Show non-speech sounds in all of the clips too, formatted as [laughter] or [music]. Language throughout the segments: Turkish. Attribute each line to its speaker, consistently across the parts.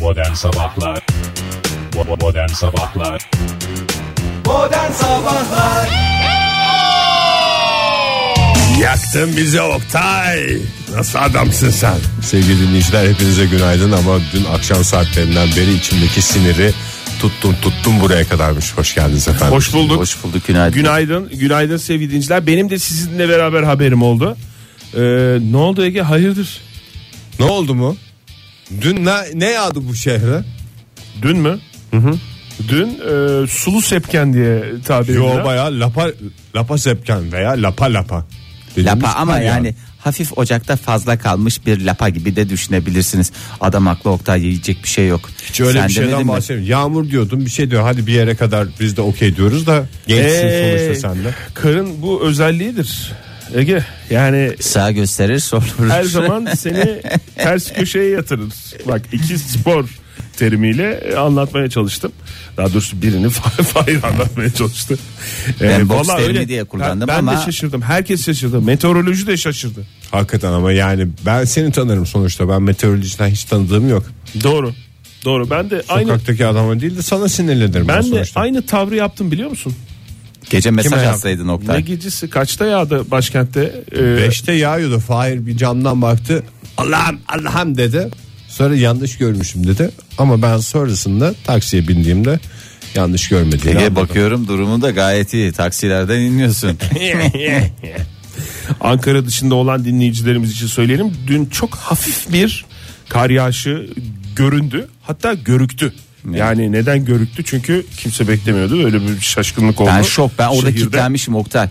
Speaker 1: Modern Sabahlar Bo- Modern Sabahlar
Speaker 2: Modern Sabahlar
Speaker 3: Yaktın bizi Oktay. Nasıl adamsın sen?
Speaker 4: Sevgili dinleyiciler hepinize günaydın ama dün akşam saatlerinden beri içimdeki siniri tuttum tuttum buraya kadarmış. Hoş geldiniz efendim.
Speaker 3: Hoş bulduk.
Speaker 5: Hoş bulduk günaydın.
Speaker 3: Günaydın. Günaydın sevgili dinleyiciler. Benim de sizinle beraber haberim oldu. Ee, ne oldu Ege? Hayırdır?
Speaker 4: Ne oldu mu? Dün ne, ne yağdı bu şehre?
Speaker 3: Dün mü? Dün e, sulu sepken diye tabir
Speaker 4: Yo
Speaker 3: edilen.
Speaker 4: baya lapa lapa sepken veya lapa lapa. Dediğimiz
Speaker 5: Lapa ama
Speaker 4: var ya.
Speaker 5: yani hafif ocakta fazla kalmış bir lapa gibi de düşünebilirsiniz. Adam haklı Oktay yiyecek bir şey yok.
Speaker 4: Hiç öyle
Speaker 5: Sen
Speaker 4: bir
Speaker 5: demedin
Speaker 4: şeyden
Speaker 5: mi?
Speaker 4: bahsedeyim. Yağmur diyordun bir şey diyor. Hadi bir yere kadar biz de okey diyoruz da gençsin
Speaker 3: Ee,
Speaker 4: sonuçta sen de.
Speaker 3: Karın bu özelliğidir. Ege yani
Speaker 5: Sağ gösterir sol vurur.
Speaker 3: her zaman seni ters köşeye yatırır. Bak iki spor terimiyle e, anlatmaya çalıştım. Daha doğrusu birini [laughs] Fahir anlatmaya çalıştı. Ee,
Speaker 5: Ben boks
Speaker 3: vallahi
Speaker 5: terimi
Speaker 3: öyle.
Speaker 5: diye kullandım
Speaker 3: ben, Ben
Speaker 5: ama-
Speaker 3: de şaşırdım. Herkes şaşırdı. Meteoroloji de şaşırdı.
Speaker 4: Hakikaten ama yani ben seni tanırım sonuçta. Ben meteorolojiden hiç tanıdığım yok.
Speaker 3: Doğru. Doğru. Ben de aynı
Speaker 4: Sokaktaki adama değil de sana sinirlenirim ben
Speaker 3: ben de
Speaker 4: sonuçta.
Speaker 3: aynı tavrı yaptım biliyor musun?
Speaker 5: Gece mesaj
Speaker 4: Kime yap-
Speaker 5: atsaydın
Speaker 3: Ne
Speaker 5: Oktay.
Speaker 3: gecesi kaçta yağdı başkentte? Ee,
Speaker 4: Beşte yağıyordu. Fahir bir camdan baktı. Allah'ım Allah'ım dedi. Sonra yanlış görmüşüm dedi. Ama ben sonrasında taksiye bindiğimde yanlış görmediğini
Speaker 5: Ege
Speaker 4: anladım.
Speaker 5: bakıyorum durumun da gayet iyi. Taksilerden
Speaker 4: [laughs]
Speaker 5: iniyorsun.
Speaker 3: Ankara dışında olan dinleyicilerimiz için söyleyelim. Dün çok hafif bir kar yağışı göründü. Hatta görüktü. Yani neden görüktü? Çünkü kimse beklemiyordu. Öyle bir şaşkınlık oldu.
Speaker 5: ben şok ben orada
Speaker 3: Şehirde.
Speaker 5: kilitlenmişim Oktay.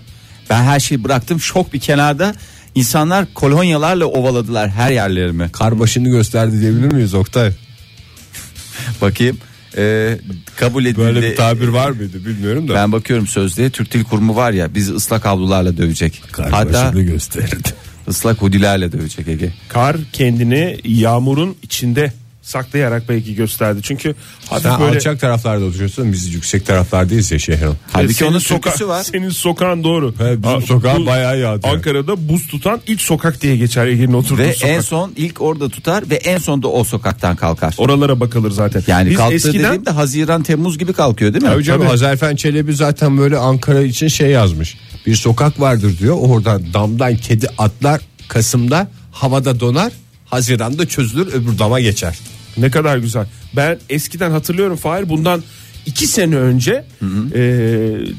Speaker 5: Ben her şeyi bıraktım şok bir kenarda. insanlar kolonyalarla ovaladılar her yerlerimi.
Speaker 4: Kar başını gösterdi diyebilir miyiz Oktay?
Speaker 5: Bakayım ee, kabul edildi.
Speaker 4: Böyle bir tabir var mıydı bilmiyorum da.
Speaker 5: Ben bakıyorum sözlüğe Türk Dil Kurumu var ya bizi ıslak havlularla dövecek.
Speaker 4: Kar
Speaker 5: Hatta
Speaker 4: başını gösterdi.
Speaker 5: ıslak hudilerle dövecek Ege.
Speaker 3: Kar kendini yağmurun içinde saklayarak belki gösterdi. Çünkü hafif
Speaker 4: Sen
Speaker 3: böyle e,
Speaker 4: alçak taraflarda oturuyorsun biz yüksek taraflardayız ya şehrin.
Speaker 5: Halbuki
Speaker 3: Senin
Speaker 5: onun
Speaker 3: soka-
Speaker 5: türküsü var.
Speaker 3: Senin sokağın doğru.
Speaker 4: He, bizim
Speaker 3: Aa,
Speaker 4: sokağa
Speaker 3: bu-
Speaker 4: bayağı yağdı.
Speaker 3: Ankara'da buz tutan ilk sokak diye geçer Ege'nin oturduğu
Speaker 5: Ve
Speaker 3: sokak.
Speaker 5: en son ilk orada tutar ve en son da o sokaktan kalkar.
Speaker 3: Oralara bakılır zaten.
Speaker 5: yani
Speaker 3: Biz
Speaker 5: kalktığı
Speaker 3: eskiden
Speaker 5: dediğimde Haziran Temmuz gibi kalkıyor değil mi?
Speaker 4: Tabii canım Hazarfen Çelebi zaten böyle Ankara için şey yazmış. Bir sokak vardır diyor. Oradan damdan kedi atlar Kasım'da havada donar. Haziran'da çözülür öbür dama geçer.
Speaker 3: Ne kadar güzel. Ben eskiden hatırlıyorum Fahir bundan iki sene önce e,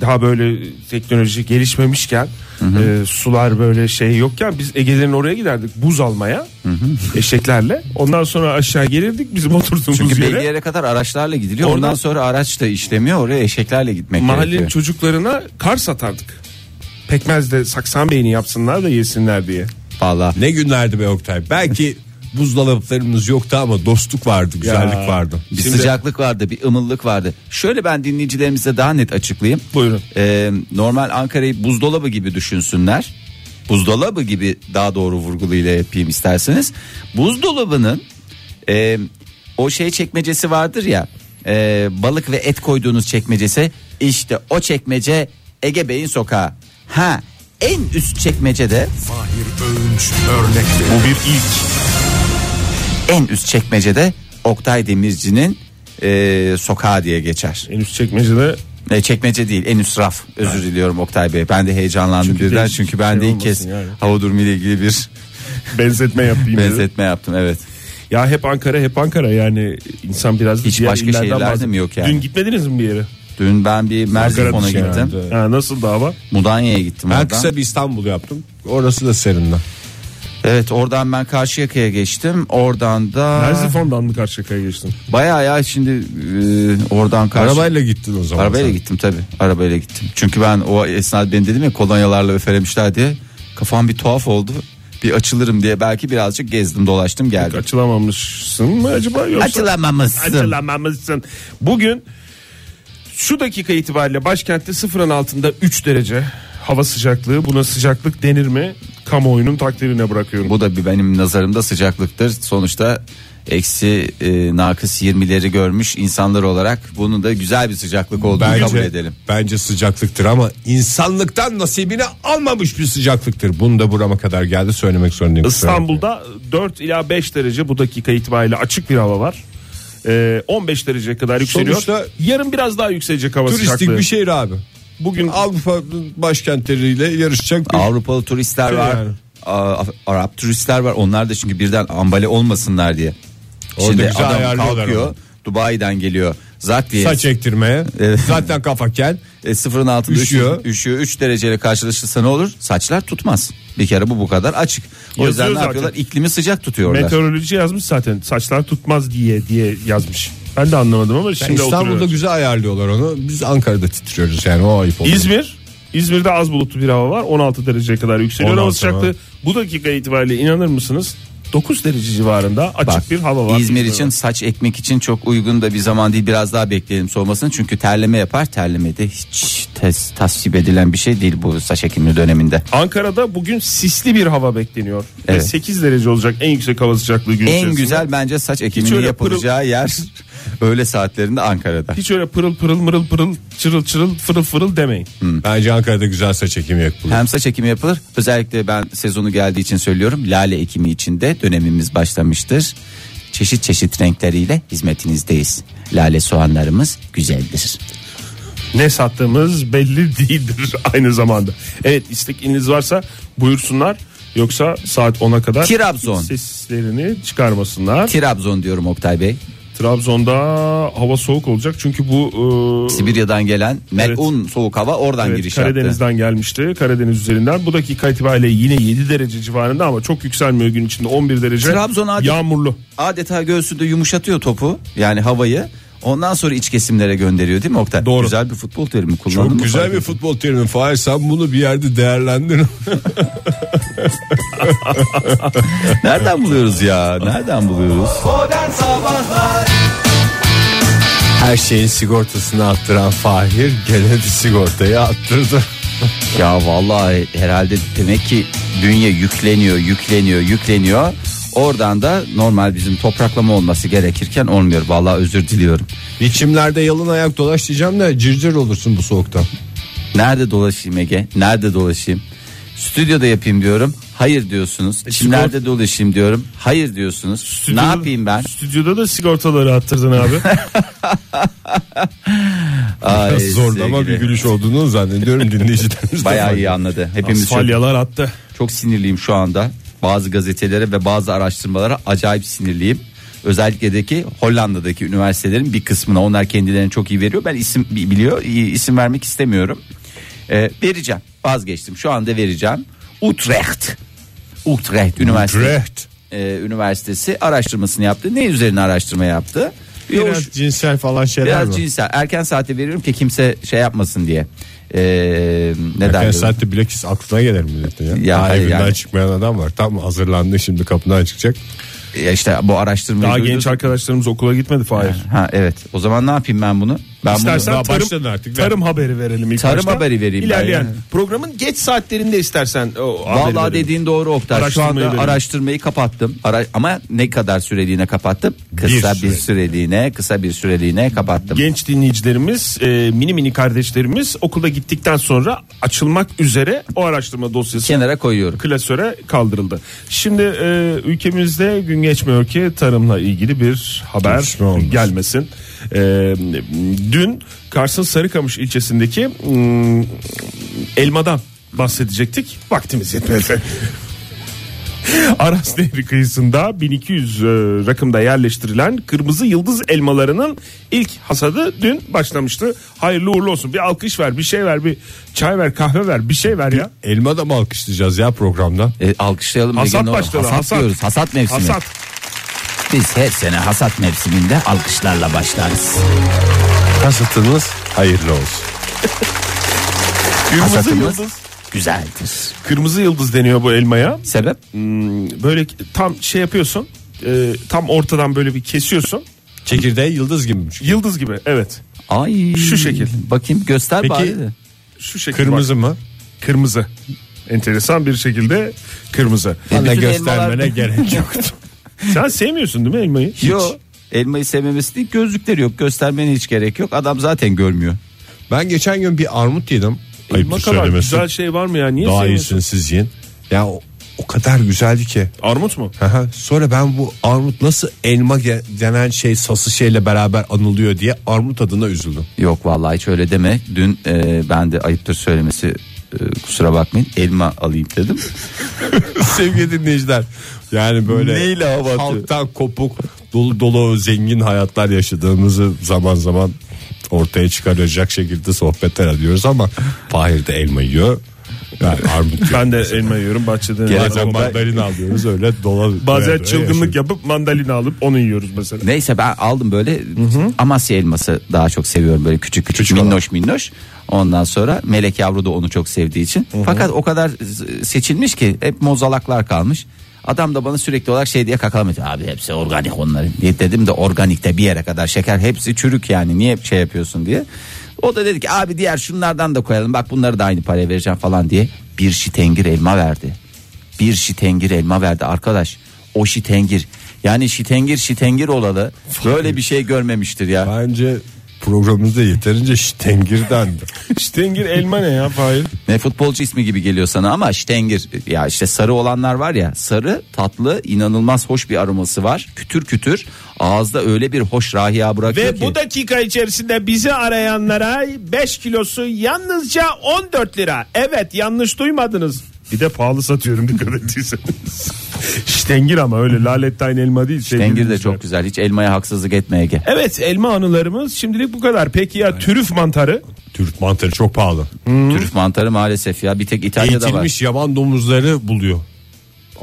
Speaker 3: daha böyle teknoloji gelişmemişken e, sular böyle şey yokken biz Ege'lerin oraya giderdik buz almaya eşeklerle. Ondan sonra aşağı gelirdik bizim oturduğumuz
Speaker 5: Çünkü
Speaker 3: yere.
Speaker 5: belli yere kadar araçlarla gidiliyor. Ondan,
Speaker 3: Oradan-
Speaker 5: sonra araç da işlemiyor. Oraya eşeklerle gitmek
Speaker 3: Mahallenin
Speaker 5: gerekiyor.
Speaker 3: çocuklarına kar satardık. Pekmez de saksan beyni yapsınlar da yesinler diye.
Speaker 5: Valla.
Speaker 4: Ne günlerdi be Oktay.
Speaker 5: [laughs]
Speaker 4: Belki buzdolaplarımız yoktu ama dostluk vardı, güzellik vardı.
Speaker 5: Bir sıcaklık vardı, bir ımıllık vardı. Şöyle ben dinleyicilerimize daha net açıklayayım.
Speaker 3: Buyurun.
Speaker 5: Ee, normal Ankara'yı buzdolabı gibi düşünsünler. Buzdolabı gibi daha doğru vurguluyla yapayım isterseniz. Buzdolabının e, o şey çekmecesi vardır ya. e, balık ve et koyduğunuz çekmecesi. işte o çekmece Ege Bey'in sokağı. Ha en üst çekmecede
Speaker 3: Bu bir ilk.
Speaker 5: en üst çekmecede Oktay Demirci'nin e, sokağı diye geçer.
Speaker 3: En üst çekmecede
Speaker 5: E, çekmece değil en üst raf özür diliyorum Oktay Bey ben de heyecanlandım
Speaker 3: Çünkü
Speaker 5: birden
Speaker 3: değişik
Speaker 5: çünkü
Speaker 3: bir
Speaker 5: ben
Speaker 3: şey
Speaker 5: de ilk kez
Speaker 3: olmasın yani.
Speaker 5: hava durumu ile ilgili bir
Speaker 3: benzetme [laughs] yapayım. dedim.
Speaker 5: benzetme yaptım evet
Speaker 3: Ya hep Ankara hep Ankara yani insan biraz da
Speaker 5: Hiç
Speaker 3: diğer
Speaker 5: başka
Speaker 3: illerden
Speaker 5: şehirlerde
Speaker 3: bahsediyor.
Speaker 5: mi yok yani?
Speaker 3: Dün gitmediniz mi bir yere?
Speaker 5: dün ben bir Merzifon'a
Speaker 3: dışı
Speaker 5: gittim
Speaker 4: herhalde.
Speaker 3: Ha, nasıl dava?
Speaker 5: Mudanya'ya gittim
Speaker 4: Ben
Speaker 5: oradan
Speaker 4: kısa bir İstanbul yaptım. Orası da serinden.
Speaker 5: evet oradan ben Karşıyaka'ya geçtim oradan da
Speaker 3: Merzifon'dan mı Karşıyaka'ya geçtin?
Speaker 5: bayağı ya şimdi e, oradan karşı
Speaker 4: Arabayla gittin o zaman.
Speaker 5: Arabayla
Speaker 4: sen.
Speaker 5: gittim tabi arabayla gittim. Çünkü ben o esnada ben dedim ya kolonyalarla öfelemişler diye kafam bir tuhaf oldu. Bir açılırım diye belki birazcık gezdim dolaştım geldim.
Speaker 3: Açılamamışsın mı acaba yoksa?
Speaker 5: Açılamamışsın.
Speaker 3: Açılamamışsın. Bugün şu dakika itibariyle başkentte sıfırın altında 3 derece hava sıcaklığı. Buna sıcaklık denir mi? Kamuoyunun takdirine bırakıyorum.
Speaker 5: Bu da bir benim nazarımda sıcaklıktır. Sonuçta eksi e, nakıs 20'leri görmüş insanlar olarak bunun da güzel bir sıcaklık olduğunu kabul edelim.
Speaker 4: Bence sıcaklıktır ama insanlıktan nasibini almamış bir sıcaklıktır. Bunu da burama kadar geldi söylemek zorundayım.
Speaker 3: İstanbul'da 4 ila 5 derece bu dakika itibariyle açık bir hava var. e, 15 dereceye kadar yükseliyor.
Speaker 4: Sonuçta
Speaker 3: Yarın biraz daha yükselecek hava
Speaker 4: Turistik
Speaker 3: sıcaklığı.
Speaker 5: şey
Speaker 4: bir şehir abi.
Speaker 3: Bugün
Speaker 4: Avrupa başkentleriyle yarışacak bir
Speaker 5: Avrupalı turistler
Speaker 4: Şey
Speaker 5: var.
Speaker 4: yani.
Speaker 5: A- Arap turistler var. Onlar da çünkü birden ambale olmasınlar diye.
Speaker 4: Orada güzel ayarlıyorlar onu.
Speaker 5: Dubai'den geliyor. Zat diye
Speaker 4: saç ektirmeye.
Speaker 5: Evet.
Speaker 4: Zaten kafa kel.
Speaker 5: e, sıfırın altında
Speaker 4: Üşüyor.
Speaker 5: üşüyor. Üşüyor. 3 dereceyle karşılaşırsa ne olur? Saçlar tutmaz. Bir kere bu bu kadar açık. O yüzden
Speaker 3: Yazıyor
Speaker 5: ne
Speaker 3: zaten.
Speaker 5: yapıyorlar? İklimi sıcak tutuyorlar.
Speaker 3: meteoroloji yazmış zaten saçlar tutmaz diye diye yazmış. Ben de anlamadım ama şimdi
Speaker 4: İstanbul'da
Speaker 3: oturuyorum.
Speaker 4: güzel ayarlıyorlar onu. Biz Ankara'da titriyoruz yani o ayıp oluyor.
Speaker 3: İzmir İzmir'de az bulutlu bir hava var. 16 dereceye kadar yükseliyor hava
Speaker 4: 16
Speaker 3: sıcaklığı. Bu dakika itibariyle inanır mısınız? 9 derece civarında açık
Speaker 5: Bak,
Speaker 3: bir hava var.
Speaker 5: İzmir için saç ekmek için çok uygun da bir zaman değil. Biraz daha bekleyelim soğumasını. Çünkü terleme yapar. Terleme de hiç tes, tasvip edilen bir şey değil bu saç ekimi döneminde.
Speaker 3: Ankara'da bugün sisli bir hava bekleniyor. Ve
Speaker 5: Evet.
Speaker 3: 8 derece olacak en yüksek hava sıcaklığı gün
Speaker 5: En
Speaker 3: içerisinde.
Speaker 5: güzel bence saç ekiminin
Speaker 3: öyle
Speaker 5: yapılacağı yer [laughs] öğle saatlerinde Ankara'da.
Speaker 3: Hiç öyle pırıl pırıl mırıl pırıl çırıl çırıl fırıl fırıl demeyin.
Speaker 4: Bence Ankara'da güzel saç ekimi yapılıyor.
Speaker 5: Hem saç ekimi yapılır. Özellikle ben sezonu geldiği için söylüyorum. Lale ekimi için de dönemimiz başlamıştır. Çeşit çeşit renkleriyle hizmetinizdeyiz. Lale soğanlarımız güzeldir.
Speaker 3: Ne sattığımız belli [laughs] değildir aynı zamanda. Evet istekiniz varsa buyursunlar. Yoksa saat 10'a kadar
Speaker 5: Trabzon.
Speaker 3: seslerini çıkarmasınlar.
Speaker 5: Trabzon diyorum Oktay Bey.
Speaker 3: Trabzon'da hava soğuk olacak çünkü bu e,
Speaker 5: Sibirya'dan gelen melun soğuk hava oradan
Speaker 3: evet,
Speaker 5: giriş yaptı.
Speaker 3: Karadeniz'den gelmişti. Karadeniz üzerinden bu dakika itibariyle yine 7 derece civarında ama çok yükselmiyor gün içinde 11 derece.
Speaker 5: Trabzon adet-
Speaker 3: yağmurlu.
Speaker 5: Adeta göğsünde yumuşatıyor topu yani havayı. Ondan sonra iç kesimlere gönderiyor değil mi Oktay?
Speaker 3: Doğru.
Speaker 5: Güzel bir futbol terimi kullandın
Speaker 4: Çok
Speaker 5: mı?
Speaker 4: güzel bir futbol terimi. Fahir sen bunu bir yerde [laughs] değerlendir.
Speaker 5: Nereden buluyoruz ya? Nereden buluyoruz?
Speaker 2: Modern Sabahlar
Speaker 4: Her şeyin sigortasını attıran Fahir gene bir sigortayı attırdı.
Speaker 5: Ya vallahi herhalde demek ki bünye yükleniyor, yükleniyor, yükleniyor. Oradan da normal bizim topraklama olması gerekirken olmuyor. Vallahi özür diliyorum.
Speaker 4: Biçimlerde yalın ayak dolaş diyeceğim de cırcır olursun bu soğukta.
Speaker 5: Nerede dolaşayım Ege? Nerede dolaşayım? Stüdyoda yapayım diyorum. Hayır diyorsunuz.
Speaker 4: E,
Speaker 5: Çimlerde dolaşayım diyorum. Hayır diyorsunuz.
Speaker 3: Stüdyoda-
Speaker 5: Ne yapayım ben?
Speaker 3: Stüdyoda da sigortaları
Speaker 5: [laughs]
Speaker 3: attırdın abi.
Speaker 5: Ay,
Speaker 4: Zorlama
Speaker 5: sevgili.
Speaker 4: bir gülüş olduğunu [laughs] zannediyorum dinleyicilerimiz. de
Speaker 5: Bayağı
Speaker 4: fark
Speaker 5: iyi
Speaker 4: ediyor.
Speaker 5: anladı. Hepimiz çok,
Speaker 3: Asfalyalar attı.
Speaker 5: çok sinirliyim şu anda. Bazı gazetelere ve bazı araştırmalara acayip sinirliyim. Özellikle de ki Hollanda'daki üniversitelerin bir kısmına onlar kendilerini çok iyi veriyor. Ben isim bi- biliyor iyi- isim vermek istemiyorum. Ee, vereceğim vazgeçtim şu anda vereceğim. Utrecht. Utrecht Üniversitesi.
Speaker 4: Utrecht.
Speaker 5: Ee, üniversitesi araştırmasını yaptı. Ne üzerine araştırma yaptı? Yoğuş-
Speaker 4: Biraz cinsel falan şeyler
Speaker 5: Biraz
Speaker 4: mi?
Speaker 5: cinsel. Erken saate veriyorum ki kimse şey yapmasın diye. Ee, ne
Speaker 4: Erken
Speaker 5: derler?
Speaker 4: saatte bilakis aklına gelir milletin ya.
Speaker 5: Ya
Speaker 4: Daha
Speaker 5: hayır
Speaker 4: evinden
Speaker 5: yani.
Speaker 4: çıkmayan adam var. Tam hazırlandı şimdi kapıdan çıkacak.
Speaker 5: Ya işte bu araştırmayı
Speaker 3: Daha
Speaker 5: duydunuz.
Speaker 3: genç arkadaşlarımız okula gitmedi Fahir.
Speaker 5: Ha evet. O zaman ne yapayım ben bunu? Ben
Speaker 3: İstersen
Speaker 4: daha
Speaker 3: tarım,
Speaker 4: başladın artık.
Speaker 3: tarım haberi verelim ilk
Speaker 5: Tarım
Speaker 3: başta.
Speaker 5: haberi vereyim ben
Speaker 3: İlerleyen
Speaker 5: ya.
Speaker 3: programın geç saatlerinde istersen o
Speaker 5: bunu
Speaker 3: haberi
Speaker 5: Vallahi
Speaker 3: verelim.
Speaker 5: dediğin doğru Oktay. Şu
Speaker 3: Araştırmayı
Speaker 5: anda
Speaker 3: verelim.
Speaker 5: araştırmayı kapattım. Ara- ama ne kadar süreliğine kapattım? Kısa bir,
Speaker 4: süre.
Speaker 5: süreliğine, kısa bir süreliğine kapattım.
Speaker 3: Genç dinleyicilerimiz, e, mini mini kardeşlerimiz okula gittikten sonra açılmak üzere o araştırma dosyası
Speaker 5: Kenara koyuyorum.
Speaker 3: klasöre kaldırıldı. Şimdi e, ülkemizde gün geçmiyor ki tarımla ilgili bir haber
Speaker 4: Gelişme olmaz.
Speaker 3: gelmesin. E, dün Kars'ın Sarıkamış ilçesindeki mm, elmadan bahsedecektik. Vaktimiz yetmedi. [laughs] Aras Nehri kıyısında 1200 e, rakımda yerleştirilen kırmızı yıldız elmalarının ilk hasadı dün başlamıştı. Hayırlı uğurlu olsun. Bir alkış ver, bir şey ver, bir çay ver, kahve ver, bir şey ver ya.
Speaker 4: Elma da mı alkışlayacağız ya programda?
Speaker 5: E, alkışlayalım.
Speaker 3: Hasat
Speaker 5: Ege, ne olur?
Speaker 3: başladı,
Speaker 5: Hasat,
Speaker 3: hasat.
Speaker 5: diyoruz. Hasat mevsimi.
Speaker 3: Hasat.
Speaker 5: Biz her sene hasat mevsiminde alkışlarla başlarız.
Speaker 4: Kasıtınız hayırlı olsun.
Speaker 3: Kırmızı
Speaker 5: Hasatımız
Speaker 3: yıldız.
Speaker 5: güzeldir.
Speaker 3: Kırmızı yıldız deniyor bu elmaya.
Speaker 5: Sebep?
Speaker 3: Hmm, Böyle tam şey yapıyorsun. e, tam ortadan böyle bir kesiyorsun.
Speaker 4: Çekirdeği yıldız gibiymiş.
Speaker 3: Yıldız gibi evet.
Speaker 5: Ay.
Speaker 3: Şu şekil.
Speaker 5: Bakayım göster
Speaker 4: Peki,
Speaker 5: bari de.
Speaker 3: Şu şekil.
Speaker 4: Kırmızı mı?
Speaker 3: bak. Kırmızı. Enteresan bir şekilde kırmızı.
Speaker 4: Bana
Speaker 5: E, bütün
Speaker 4: göstermene
Speaker 5: elmalar-
Speaker 4: gerek
Speaker 5: [laughs]
Speaker 4: yoktu.
Speaker 3: Sen sevmiyorsun değil mi elmayı?
Speaker 5: Yok. Elmayı sevmemesi değil gözlükleri yok göstermene hiç gerek yok adam zaten görmüyor.
Speaker 4: Ben geçen gün bir armut yedim.
Speaker 3: Elma
Speaker 4: Ayıptır
Speaker 3: kadar
Speaker 4: söylemesi.
Speaker 3: güzel şey var mı ya? Niye
Speaker 4: Daha
Speaker 3: sevmiyorsun?
Speaker 4: iyisini siz yiyin. Ya o- o kadar güzeldi ki.
Speaker 3: Armut mu?
Speaker 4: Aha, Sonra ben bu armut nasıl elma ge- denen şey sası şeyle beraber anılıyor diye armut adına üzüldüm.
Speaker 5: Yok vallahi hiç öyle deme. Dün e, ben de ayıptır söylemesi e, kusura bakmayın elma alayım dedim.
Speaker 4: [laughs] Sevgili dinleyiciler yani böyle
Speaker 5: Neyle hava atıyor?
Speaker 4: halktan kopuk dolu dolu zengin hayatlar yaşadığımızı zaman zaman ortaya çıkaracak şekilde sohbetler ediyoruz ama Fahir de elma yiyor. Yani armut yiyor.
Speaker 3: [laughs] Ben de elma yiyorum bahçeden.
Speaker 4: Bazen
Speaker 3: elma-
Speaker 4: mandalina alıyoruz öyle dola doya
Speaker 3: [laughs] Bazen
Speaker 4: doya
Speaker 3: çılgınlık yapıp mandalina alıp onu yiyoruz mesela. [laughs]
Speaker 5: Neyse ben aldım böyle Amasya elması daha çok seviyorum böyle küçük küçük, minnoş minnoş. Ondan sonra Melek Yavru da onu çok sevdiği için. Fakat o kadar z- seçilmiş ki hep mozalaklar kalmış. Adam da bana sürekli olarak şey diye kakalamış. Abi hepsi organik onların. diye Dedim de organikte bir yere kadar şeker hepsi çürük yani niye hep şey yapıyorsun diye. O da dedi ki abi diğer şunlardan da koyalım bak bunları da aynı paraya vereceğim falan diye. Bir şitengir elma verdi. Bir şitengir elma verdi arkadaş. O şitengir. Yani şitengir şitengir olalı. Böyle bir şey görmemiştir ya.
Speaker 4: Bence programımızda yeterince şitengirden
Speaker 3: Ştengir elma ne ya Fahir?
Speaker 5: Ne futbolcu ismi gibi geliyor sana ama şitengir. Ya işte sarı olanlar var ya. Sarı tatlı inanılmaz hoş bir aroması var. Kütür kütür ağızda öyle bir hoş rahiya bırakıyor
Speaker 3: Ve
Speaker 5: ki.
Speaker 3: bu dakika içerisinde bizi arayanlara 5 kilosu yalnızca 14 lira. Evet yanlış duymadınız. Bir de pahalı satıyorum dikkat
Speaker 4: [laughs]
Speaker 3: ettiyseniz. Ştengir ama öyle lalettayn elma değil. sevgili
Speaker 5: Şitengir de
Speaker 3: dinleyiciler.
Speaker 5: çok güzel. Hiç elmaya haksızlık etme Ege.
Speaker 3: Evet elma anılarımız şimdilik bu kadar. Peki ya türüf mantarı?
Speaker 4: Türk mantarı çok pahalı.
Speaker 5: Türüf mantarı maalesef ya. Bir tek İtalya'da var.
Speaker 4: Eğitilmiş yaban domuzları buluyor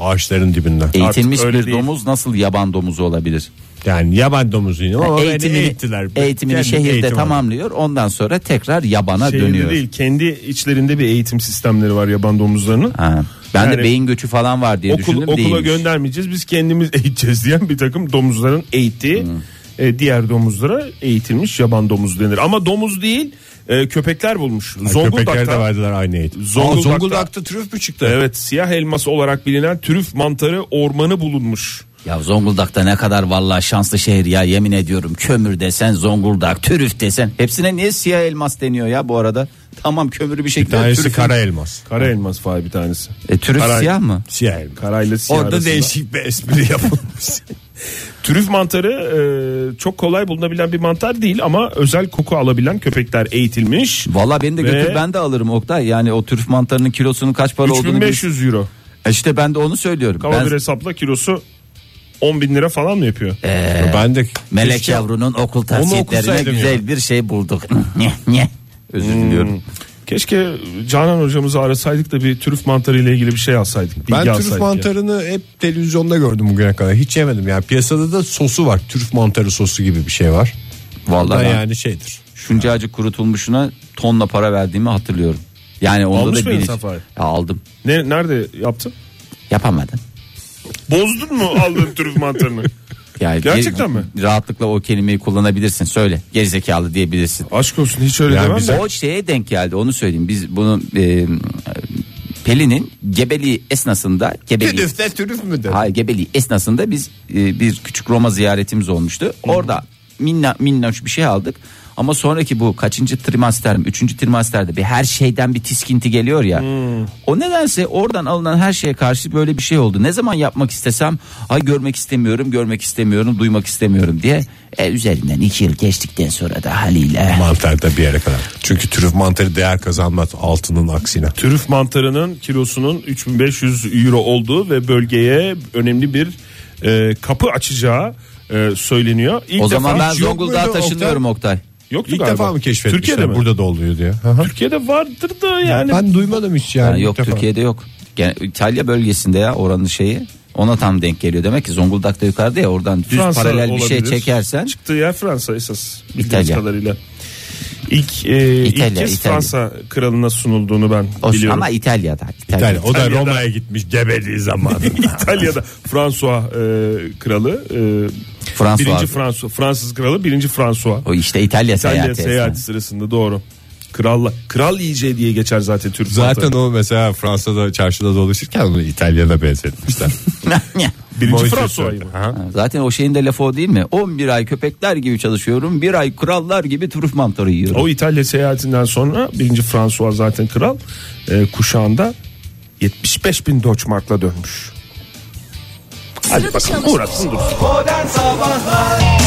Speaker 4: ağaçların dibinden.
Speaker 5: Eğitilmiş
Speaker 3: öyle
Speaker 5: bir
Speaker 3: değil.
Speaker 5: domuz nasıl yaban domuzu olabilir?
Speaker 4: Yani yaban domuzu yine ama beni
Speaker 5: eğitimini,
Speaker 4: eğittiler.
Speaker 5: eğitimini
Speaker 4: Kendi
Speaker 5: şehirde
Speaker 4: eğitim aldım.
Speaker 5: tamamlıyor. Ondan sonra tekrar yabana
Speaker 3: Şehirde
Speaker 5: dönüyor.
Speaker 3: değil kendi içlerinde bir eğitim sistemleri var yaban domuzlarının.
Speaker 5: Ha. Ben
Speaker 3: Yani
Speaker 5: de beyin göçü falan var diye
Speaker 3: Okul,
Speaker 5: düşündüm
Speaker 3: okula
Speaker 5: değilmiş.
Speaker 3: göndermeyeceğiz biz kendimiz [laughs] eğiteceğiz diyen bir takım domuzların eğittiği
Speaker 5: Hmm.
Speaker 3: e, diğer domuzlara eğitilmiş yaban domuz denir. Ama domuz değil e, köpekler bulmuş.
Speaker 4: Köpeklere de
Speaker 3: Zonguldak'ta,
Speaker 4: verdiler aynı eğitim.
Speaker 3: Zonguldak'ta-
Speaker 4: trüf mü çıktı?
Speaker 3: evet siyah elması olarak bilinen türüf mantarı ormanı bulunmuş.
Speaker 5: Ya Zonguldak'ta ne kadar vallahi şanslı şehir ya yemin ediyorum. Kömür desen Zonguldak, Türüf desen. Hepsine niye siyah elmas deniyor ya bu arada? Tamam kömürü bir şekilde
Speaker 4: Tanesi
Speaker 5: Türüf'ün-
Speaker 4: kara elmas.
Speaker 3: Kara elmas fay bir tanesi.
Speaker 5: E, Türüf
Speaker 3: Kara-
Speaker 5: siyah mı?
Speaker 4: Siyah elmas.
Speaker 3: Karayla siyah
Speaker 4: Orada
Speaker 3: arasında.
Speaker 4: değişik bir espri yapılmış. [laughs]
Speaker 3: Trüf mantarı e, çok kolay bulunabilen bir mantar değil ama özel koku alabilen köpekler eğitilmiş.
Speaker 5: Valla beni de
Speaker 3: Ve-
Speaker 5: götür ben de alırım Oktay. Yani o Türüf mantarının kilosunun kaç para olduğunu... bil-
Speaker 3: 3500 euro.
Speaker 5: E işte ben de onu söylüyorum.
Speaker 3: Kaba
Speaker 5: Ben-
Speaker 3: bir hesapla kilosu 10 bin lira falan mı yapıyor?
Speaker 4: ben de
Speaker 5: Melek
Speaker 4: keşke-
Speaker 5: Yavru'nun okul tavsiyelerine
Speaker 4: okusaydım
Speaker 5: güzel bir şey bulduk. [laughs] Özür
Speaker 3: Hmm.
Speaker 5: diliyorum.
Speaker 3: Keşke Canan hocamızı arasaydık da bir trüf mantarı ile ilgili bir şey alsaydık. Bilgi
Speaker 4: Ben
Speaker 3: alsaydık
Speaker 4: trüf
Speaker 3: ya.
Speaker 4: mantarını hep televizyonda gördüm bugüne kadar. Hiç yemedim yani. Piyasada da sosu var. Trüf mantarı sosu gibi bir şey var.
Speaker 5: Vallahi
Speaker 4: Da
Speaker 5: ben-
Speaker 4: yani şeydir.
Speaker 5: Şunca acı kurutulmuşuna tonla para verdiğimi hatırlıyorum. Yani onda
Speaker 3: Almış
Speaker 5: da
Speaker 3: mıydın
Speaker 5: bilinç-
Speaker 3: sen Fahir?
Speaker 5: Ya aldım.
Speaker 3: Ne, nerede yaptın?
Speaker 5: Yapamadım.
Speaker 3: Bozdun mu aldığın trüf mantarını?
Speaker 5: Yani
Speaker 3: Gerçekten
Speaker 5: ge-
Speaker 3: mi?
Speaker 5: Rahatlıkla o kelimeyi kullanabilirsin. Söyle. Gerizekalı diyebilirsin.
Speaker 3: [laughs] Aşk olsun hiç öyle
Speaker 4: Yani
Speaker 3: demem
Speaker 4: bize-
Speaker 3: de.
Speaker 5: O şeye denk geldi. Onu söyleyeyim. Biz bunu e, Pelin'in gebeliği esnasında gebeliği
Speaker 4: de trüf mü dedi?
Speaker 5: Hayır gebeliği esnasında biz e, bir küçük Roma ziyaretimiz olmuştu. Orada minna, minnoş bir şey aldık. Ama sonraki bu kaçıncı trimaster mi? Üçüncü trimasterde bir her şeyden bir tiskinti geliyor ya. O nedense oradan alınan her şeye karşı böyle bir şey oldu. Ne zaman yapmak istesem ay görmek istemiyorum, görmek istemiyorum, duymak istemiyorum diye. E, üzerinden iki yıl geçtikten sonra da haliyle.
Speaker 4: Mantar da bir yere kadar. Çünkü trüf mantarı değer kazanmaz altının aksine.
Speaker 3: Trüf mantarının kilosunun 3500 euro olduğu ve bölgeye önemli bir e, kapı açacağı e, söyleniyor. İlk
Speaker 5: o zaman
Speaker 3: defa
Speaker 5: ben
Speaker 4: hiç yok
Speaker 5: Zonguldak'a
Speaker 4: muydu Oktay?
Speaker 5: taşınıyorum Oktay.
Speaker 3: yoktu
Speaker 4: İlk
Speaker 3: galiba.
Speaker 4: defa mı keşfetmişler?
Speaker 3: Türkiye'de mi?
Speaker 4: Burada da oluyor diye. Hı hı.
Speaker 3: Türkiye'de vardır da yani.
Speaker 4: Yani ben duymadım hiç yani.
Speaker 5: Ha,
Speaker 4: ilk
Speaker 5: yok
Speaker 4: defa.
Speaker 5: Türkiye'de yok. Gene İtalya bölgesinde ya oranın şeyi. Ona tam denk geliyor. Demek ki Zonguldak'ta yukarıda ya oradan düz
Speaker 3: Fransa
Speaker 5: paralel bir şey
Speaker 3: olabilir.
Speaker 5: çekersen.
Speaker 3: Çıktığı yer Fransa esas. bildiğimiz
Speaker 5: İtalya.
Speaker 3: kadarıyla. İlk, e, ilk
Speaker 5: İtalya,
Speaker 3: kez
Speaker 5: İtalya.
Speaker 3: Fransa kralına sunulduğunu ben
Speaker 5: O,
Speaker 3: biliyorum.
Speaker 5: ama İtalya'da. İtalya'da.
Speaker 4: Yani o da
Speaker 3: İtalya'da-
Speaker 4: Roma'ya gitmiş gebeliği [laughs] zamanında.
Speaker 3: [laughs] İtalya'da François e, kralı e,
Speaker 5: François.
Speaker 3: birinci François Fransız kralı birinci François
Speaker 5: O işte İtalya,
Speaker 3: İtalya
Speaker 5: seyahati.
Speaker 3: seyahati sırasında doğru kralla kral yiyeceği diye geçer zaten Türk
Speaker 4: Zaten
Speaker 3: mantarı.
Speaker 4: o mesela Fransa'da çarşıda dolaşırken onu İtalya'da benzetmişler.
Speaker 5: esnasında.
Speaker 3: [laughs] birinci
Speaker 4: Moise
Speaker 3: François
Speaker 4: söyledi.
Speaker 3: mı?
Speaker 4: Ha.
Speaker 5: [laughs] Zaten o şeyin de lafı o değil mi? 11 ay köpekler gibi çalışıyorum. Bir ay krallar gibi trüf mantarı yiyorum.
Speaker 3: o İtalya seyahatinden sonra birinci François zaten kral e, kuşağında 75 bin Deutschmark'la dönmüş. Hadi bakalım uğraşsın dursun.
Speaker 2: Modern Sabahlar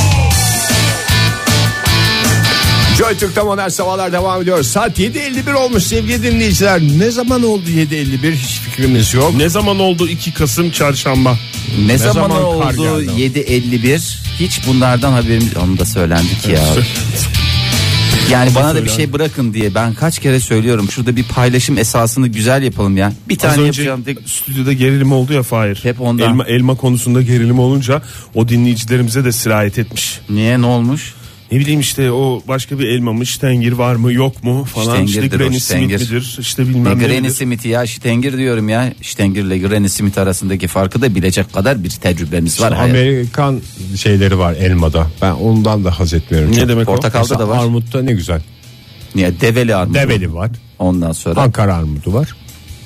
Speaker 4: Joy Türk'te modern sabahlar devam ediyor. Saat 7.51 olmuş sevgili dinleyiciler. Ne zaman oldu 7.51 hiç fikrimiz yok.
Speaker 3: Ne zaman oldu 2 Kasım çarşamba?
Speaker 5: Ne, zaman,
Speaker 3: zaman kar
Speaker 5: oldu
Speaker 3: geldi?
Speaker 5: 7.51 hiç bunlardan haberimiz onu da söylendi ki ya.
Speaker 3: [laughs]
Speaker 5: Yani bana da bir şey bırakın diye ben kaç kere söylüyorum. Şurada bir paylaşım esasını güzel yapalım ya. Bir
Speaker 3: Az
Speaker 5: tane
Speaker 3: önce
Speaker 5: yapacağım. tek-
Speaker 3: stüdyoda gerilim oldu ya Fahir.
Speaker 5: Hep ondan.
Speaker 3: Elma, elma konusunda gerilim olunca o dinleyicilerimize de sirayet etmiş.
Speaker 5: Niye ne olmuş?
Speaker 3: Ne bileyim işte o başka bir elmamış tengir var mı yok mu falan. İşte
Speaker 5: Stengir'dir o,
Speaker 3: Granny Smith
Speaker 5: Stengir.
Speaker 3: midir işte
Speaker 5: Ne
Speaker 3: bilmem ne.
Speaker 5: Granny
Speaker 3: midir.
Speaker 5: Smith'i ya Şitengir diyorum ya. Şitengir ile Granny Smith arasındaki farkı da bilecek kadar bir tecrübemiz var. hayat.
Speaker 4: Amerikan şeyleri var elmada. Ben ondan da haz etmiyorum.
Speaker 3: Ne
Speaker 4: çok.
Speaker 3: demek o?
Speaker 5: Portakalda
Speaker 4: Mesela
Speaker 5: da var.
Speaker 4: Armutta ne güzel.
Speaker 5: Niye develi armudu?
Speaker 4: Develi var.
Speaker 5: Ondan sonra
Speaker 4: Ankara armudu var.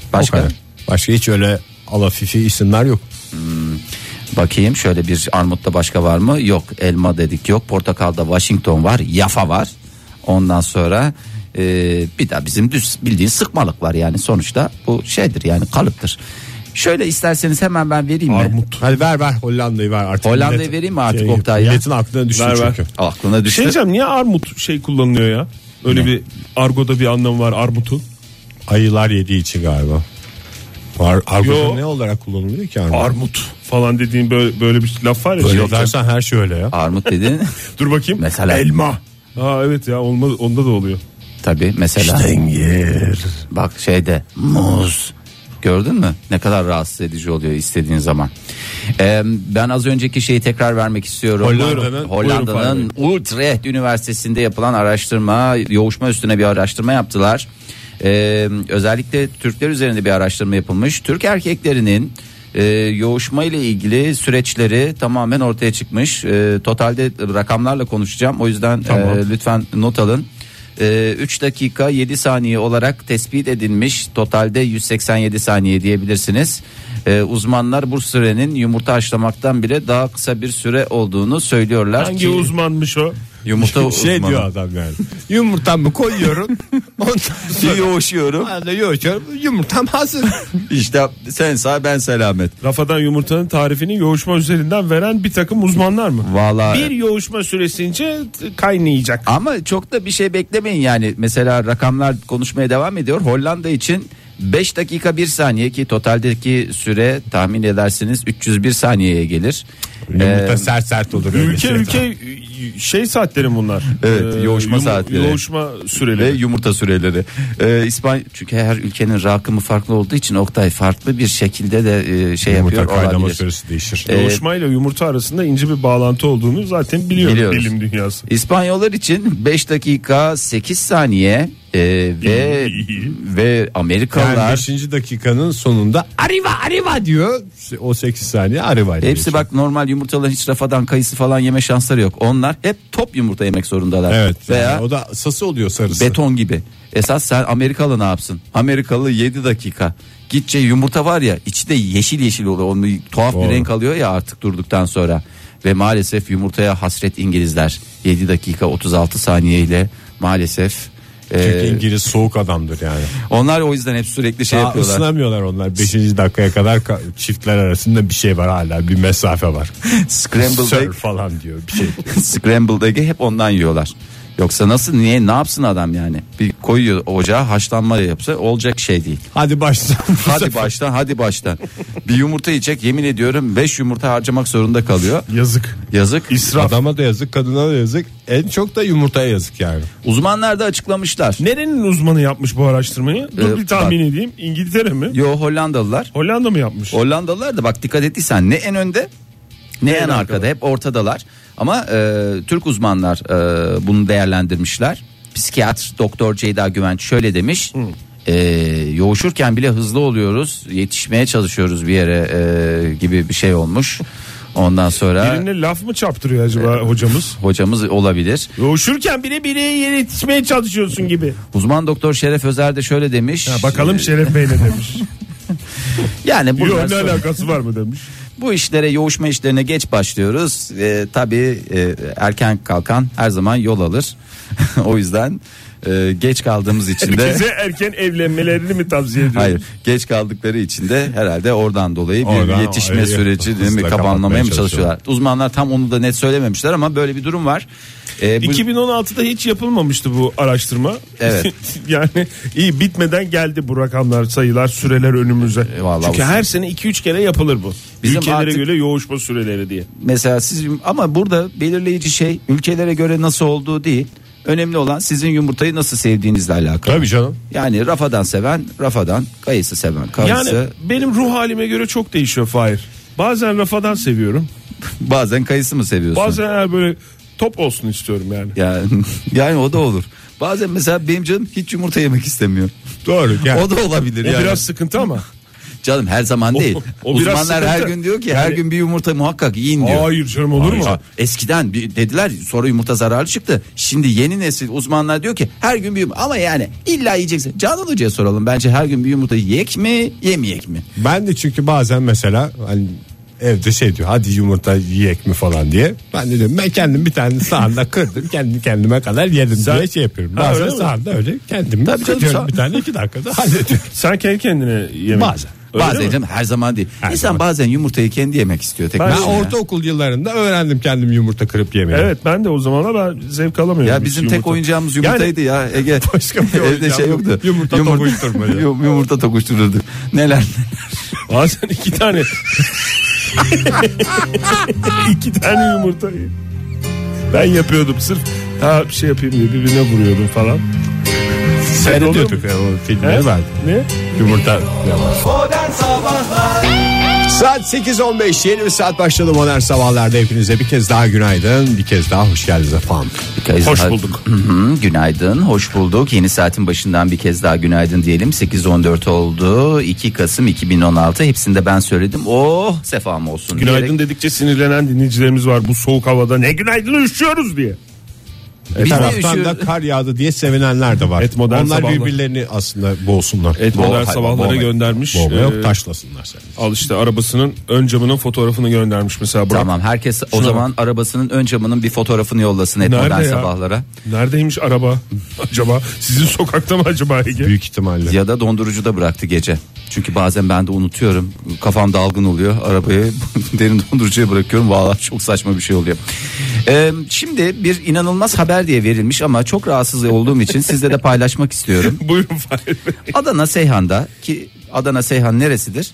Speaker 4: O
Speaker 5: başka
Speaker 4: kadar. Başka hiç öyle alafifi isimler yok.
Speaker 5: bakayım şöyle bir armutta başka var mı? Yok elma dedik yok portakalda Washington var yafa var. Ondan sonra e, bir daha bizim düz bildiğin sıkmalık var yani sonuçta bu şeydir yani kalıptır. Şöyle isterseniz hemen ben vereyim mi?
Speaker 4: Armut. Hadi ver ver Hollanda'yı ver artık.
Speaker 5: Hollanda'yı
Speaker 4: Millet-
Speaker 5: vereyim mi artık
Speaker 4: şey,
Speaker 5: Oktay ya?
Speaker 4: Milletin aklına düştü
Speaker 3: Ver, ver.
Speaker 4: çünkü.
Speaker 5: Aklına
Speaker 3: Bir şey
Speaker 5: düştü.
Speaker 3: diyeceğim niye armut şey kullanılıyor ya? Öyle bir argoda bir anlamı var armutun.
Speaker 4: Ayılar yediği için galiba. Ar argoda
Speaker 3: Yo.
Speaker 4: ne olarak kullanılıyor ki armut?
Speaker 3: Armut falan dediğin böyle, böyle bir laf var ya.
Speaker 4: Öyle
Speaker 3: Şey-
Speaker 4: dersen her şey öyle ya.
Speaker 5: Armut dedin.
Speaker 3: Dur bakayım.
Speaker 5: Mesela.
Speaker 3: Elma. Aa evet ya olma, onda da oluyor.
Speaker 5: Tabii mesela. Bak şeyde muz. Gördün mü? Ne kadar rahatsız edici oluyor istediğin zaman. Ee, ben az önceki şeyi tekrar vermek istiyorum.
Speaker 4: Hollanda'nın-
Speaker 5: Buyurun.
Speaker 3: Buyurun
Speaker 5: Hollanda'nın Utrecht Üniversitesi'nde yapılan araştırma, yoğuşma üstüne bir araştırma yaptılar. Ee, özellikle Türkler üzerinde bir araştırma yapılmış. Türk erkeklerinin e, yoğuşma ile ilgili süreçleri tamamen ortaya çıkmış. E, totalde rakamlarla konuşacağım. O yüzden
Speaker 3: Tamam.
Speaker 5: e, lütfen not alın. 3 dakika 7 saniye olarak tespit edilmiş totalde 187 saniye diyebilirsiniz. Ee, uzmanlar bu sürenin yumurta haşlamaktan bile daha kısa bir süre olduğunu söylüyorlar.
Speaker 3: Hangi
Speaker 5: ki-
Speaker 3: uzmanmış o?
Speaker 5: Yumurta
Speaker 4: [laughs] şey
Speaker 5: uzmanı.
Speaker 4: diyor adam yani. Yumurtamı koyuyorum. Ondan sonra
Speaker 5: Yoğuşuyorum.
Speaker 4: ben de yoğurtuyorum. Yumurtam hazır.
Speaker 5: [laughs] İşte sen sağ ben selamet.
Speaker 3: Rafadan yumurtanın tarifini yoğuşma üzerinden veren bir takım uzmanlar mı?
Speaker 5: Vallahi
Speaker 3: Bir yoğuşma süresince t- kaynayacak.
Speaker 5: Ama çok da bir şey beklemeyin yani. Mesela rakamlar konuşmaya devam ediyor. Hollanda için 5 dakika 1 saniye ki totaldeki süre tahmin edersiniz 301 saniyeye gelir. Ee,
Speaker 4: Yumurta sert sert olur. öyle
Speaker 3: Ülke
Speaker 4: şeyden.
Speaker 3: ülke şey saatleri bunlar. Ee,
Speaker 5: Evet, yoğuşma saatleri.
Speaker 3: Yoğuşma
Speaker 5: ve
Speaker 3: süreleri.
Speaker 5: yumurta süreleri. Ee, İspanya çünkü her ülkenin rakımı farklı olduğu için Oktay farklı bir şekilde de e, şey
Speaker 4: Yumurta
Speaker 5: yapıyor
Speaker 4: kaynama
Speaker 5: olabilir.
Speaker 4: süresi değişir.
Speaker 5: Ee,
Speaker 3: Yoğuşmayla yumurta arasında ince bir bağlantı olduğunu zaten biliyor
Speaker 5: Biliyoruz.
Speaker 3: bilim dünyası.
Speaker 5: İspanyollar için 5 dakika 8 saniye e,
Speaker 4: [laughs]
Speaker 5: ve ve
Speaker 4: yani
Speaker 5: Amerikalılar
Speaker 4: 5. dakikanın sonunda arriva arriva diyor. O 8 saniye arriva. diyor.
Speaker 5: hepsi bak normal yumurtaların hiç rafadan kayısı falan yeme şansları yok. Onlar hep top yumurta yemek zorundalar.
Speaker 4: Evet.
Speaker 5: Veya
Speaker 4: yani o da sası oluyor sarısı.
Speaker 5: beton gibi. Esas sen Amerikalı ne yapsın? Amerikalı 7 dakika. Gitçe yumurta var ya içi de yeşil yeşil oluyor. Onu tuhaf bir
Speaker 4: Doğru.
Speaker 5: renk alıyor ya artık durduktan sonra. Ve maalesef yumurtaya hasret İngilizler. 7 dakika 36 saniye ile maalesef. e,
Speaker 4: Çünkü Ee, İngiliz soğuk adamdır yani.
Speaker 5: onlar o yüzden hep sürekli şey
Speaker 4: Daha
Speaker 5: yapıyorlar.
Speaker 4: ısınamıyorlar onlar. 5. dakikaya kadar ka- çiftler arasında bir şey var hala. Bir mesafe var.
Speaker 5: Scrambled
Speaker 4: Sir
Speaker 5: egg,
Speaker 4: falan diyor bir şey.
Speaker 5: scrambled egg'i hep ondan yiyorlar. Yoksa nasıl niye ne yapsın adam yani? Bir koyuyor ocağa haşlanma yapsa olacak şey değil.
Speaker 4: Hadi başla.
Speaker 5: Hadi baştan hadi baştan. Bir yumurta yiyecek yemin ediyorum 5 yumurta harcamak zorunda kalıyor.
Speaker 3: Yazık.
Speaker 5: [laughs] Yazık.
Speaker 4: Adama da yazık, kadına da yazık. En çok da yumurtaya yazık yani.
Speaker 5: Uzmanlar da açıklamışlar.
Speaker 3: Nerenin uzmanı yapmış bu araştırmayı? Dur
Speaker 5: Ee,
Speaker 3: bir tahmin edeyim. İngiltere mi?
Speaker 5: Yo Hollandalılar.
Speaker 3: Hollanda mı yapmış?
Speaker 5: Hollandalılar da bak dikkat ettiysen ne en önde ne en arkada hep ortadalar. Ama e, Türk uzmanlar e, bunu değerlendirmişler. Psikiyatr Doktor Ceyda Güvenç şöyle demiş. E, yoğuşurken bile hızlı oluyoruz. Yetişmeye çalışıyoruz bir yere e, gibi bir şey olmuş. Ondan sonra
Speaker 3: Birine laf mı çaptırıyor acaba
Speaker 5: [laughs]
Speaker 3: hocamız?
Speaker 5: hocamız olabilir.
Speaker 3: Yoğuşurken bile biri yetişmeye çalışıyorsun gibi.
Speaker 5: Uzman doktor Şeref Özer de şöyle demiş.
Speaker 3: Ha, bakalım
Speaker 5: E,
Speaker 3: Şeref Bey
Speaker 5: [laughs]
Speaker 3: ne demiş.
Speaker 5: Yani bunlar
Speaker 3: Yok ne
Speaker 5: sonra-
Speaker 3: alakası var mı demiş.
Speaker 5: Bu işlere yoğuşma işlerine geç başlıyoruz. Ee, tabii e, erken kalkan her zaman yol alır. [laughs] o yüzden Ee, geç kaldığımız için de
Speaker 3: Herkese erken evlenmelerini
Speaker 5: [laughs]
Speaker 3: mi tavsiye ediyorsun?
Speaker 5: Hayır geç kaldıkları için de herhalde oradan dolayı bir
Speaker 4: Oradan
Speaker 5: yetişme
Speaker 4: orayı
Speaker 5: süreci değil mi,
Speaker 4: hızla
Speaker 5: kapanmamaya
Speaker 4: kapatmaya
Speaker 5: mı çalışıyorlar? Uzmanlar tam onu da net söylememişler ama böyle bir durum var. Ee, bu-
Speaker 3: 2016'da hiç yapılmamıştı bu araştırma.
Speaker 5: Evet.
Speaker 3: [laughs] yani iyi bitmeden geldi bu rakamlar, sayılar, süreler önümüze.
Speaker 5: E, vallahi
Speaker 3: Çünkü
Speaker 5: olsun.
Speaker 3: her sene 2-3 kere yapılır bu.
Speaker 5: Bizim
Speaker 3: Ülkelere
Speaker 5: artık-
Speaker 3: göre yoğuşma süreleri diye.
Speaker 5: mesela siz ama burada belirleyici şey ülkelere göre nasıl olduğu değil. Önemli olan sizin yumurtayı nasıl sevdiğinizle alakalı.
Speaker 4: Tabii canım.
Speaker 5: Yani rafadan seven rafadan, kayısı seven kayısı.
Speaker 3: Yani benim ruh halime göre çok değişiyor Fahir. Bazen rafadan seviyorum.
Speaker 5: Bazen kayısı mı seviyorsun?
Speaker 3: Bazen her böyle top olsun istiyorum yani.
Speaker 5: Yani, [laughs] yani o da olur. Bazen mesela benim canım hiç yumurta yemek istemiyor.
Speaker 4: Doğru. Yani
Speaker 5: O da olabilir
Speaker 3: O
Speaker 5: yani.
Speaker 3: biraz sıkıntı ama.
Speaker 5: Canım her zaman değil.
Speaker 3: o biraz
Speaker 5: Uzmanlar her
Speaker 3: sıkıntı.
Speaker 5: gün diyor ki her
Speaker 3: Yani-
Speaker 5: gün bir yumurta muhakkak yiyin diyor.
Speaker 3: Hayır canım olur mu?
Speaker 5: Aa, Eskiden bir dediler sonra yumurta zararlı çıktı. Şimdi yeni nesil uzmanlar diyor ki her gün bir yumurta ama yani illa yiyeceksin. Canan Hoca'ya soralım bence her gün bir yumurta yek mi yemeyek mi?
Speaker 4: ben de çünkü bazen mesela hani evde şey diyor hadi yumurta yiyek mi falan diye. Ben de diyorum ben kendim bir tane sahanda kırdım kendi kendime kadar yedim diye şey yapıyorum.
Speaker 3: Ha,
Speaker 4: Bazen
Speaker 3: öyle mi?
Speaker 4: sahanda öyle kendim
Speaker 5: Tabii canım,
Speaker 4: kırıyorum
Speaker 5: sah-
Speaker 4: bir tane iki dakikada hallediyorum.
Speaker 3: Sen kendi kendine yemek.
Speaker 4: Bazen.
Speaker 3: Öyle
Speaker 5: bazen
Speaker 3: mi?
Speaker 5: canım her zaman değil.
Speaker 4: Her
Speaker 5: İnsan
Speaker 4: zaman.
Speaker 5: bazen yumurtayı kendi yemek istiyor tek
Speaker 3: Ben
Speaker 4: Ben
Speaker 5: başına.
Speaker 4: ortaokul yıllarında öğrendim kendim yumurta kırıp yemeyi.
Speaker 3: Evet ben de o zamanlar ben zevk alamıyorum.
Speaker 5: Ya
Speaker 3: hiç
Speaker 5: bizim tek
Speaker 3: yumurta.
Speaker 5: oyuncağımız yumurtaydı
Speaker 3: [laughs]
Speaker 5: ya Ege.
Speaker 4: Başka
Speaker 5: [laughs]
Speaker 4: bir
Speaker 5: Evde
Speaker 4: oyuncağım
Speaker 5: şey
Speaker 4: yok.
Speaker 5: yoktu.
Speaker 4: Yumurta tokuşturma ya.
Speaker 5: Yum- [laughs] Yumurta tokuştururduk. Neler
Speaker 3: Yani bazen iki tane. iki tane yumurta. Ben yapıyordum sırf ha bir şey yapayım diye birbirine vuruyordum falan.
Speaker 4: Seyrediyorduk ya o filmleri ben.
Speaker 3: Ne?
Speaker 4: Yumurta yapar.
Speaker 2: Modern Sabahlar
Speaker 4: Saat 8.15 yeni bir saat başladı modern sabahlarda hepinize bir kez daha günaydın bir kez daha hoş geldiniz efendim.
Speaker 3: Hoş bulduk.
Speaker 5: Hı hı, günaydın, hoş bulduk. Yeni saatin başından bir kez daha günaydın diyelim. 8.14 oldu. 2 Kasım 2016. Hepsinde ben söyledim. Oh sefam olsun.
Speaker 3: Günaydın
Speaker 5: diyerek.
Speaker 3: dedikçe sinirlenen dinleyicilerimiz var bu soğuk havada. Ne günaydın üşüyoruz diye.
Speaker 4: Bir
Speaker 5: Biz de
Speaker 4: E, taraftan da
Speaker 5: üşüyoruz.
Speaker 4: kar yağdı diye sevinenler de var.
Speaker 3: Et modern
Speaker 4: Onlar
Speaker 3: sabahlar.
Speaker 4: birbirlerini aslında boğsunlar.
Speaker 3: Evet
Speaker 5: Bol-
Speaker 3: modern
Speaker 5: hay-
Speaker 3: sabahlara
Speaker 5: bol-
Speaker 3: göndermiş. Şey-
Speaker 4: Boğma
Speaker 3: Ee,
Speaker 4: yok taşlasınlar seni.
Speaker 3: Al işte arabasının ön camının fotoğrafını göndermiş mesela Burak.
Speaker 5: Tamam herkes o
Speaker 3: Şuna
Speaker 5: zaman arabasının ön camının bir fotoğrafını yollasın et
Speaker 3: Nerede
Speaker 5: modern
Speaker 3: ya?
Speaker 5: sabahlara.
Speaker 3: Neredeymiş araba [laughs] acaba? Sizin sokakta mı acaba Ege?
Speaker 4: Büyük ihtimalle.
Speaker 5: Ya da dondurucuda bıraktı gece. Çünkü bazen ben de unutuyorum. Kafam dalgın oluyor. Arabayı [laughs] derin dondurucuya bırakıyorum. Vallahi çok saçma bir şey oluyor. Ee, şimdi bir inanılmaz haber diye verilmiş ama çok rahatsız olduğum için sizle de paylaşmak istiyorum.
Speaker 3: Buyurun Fahir Bey.
Speaker 5: Adana Seyhan'da ki Adana Seyhan neresidir?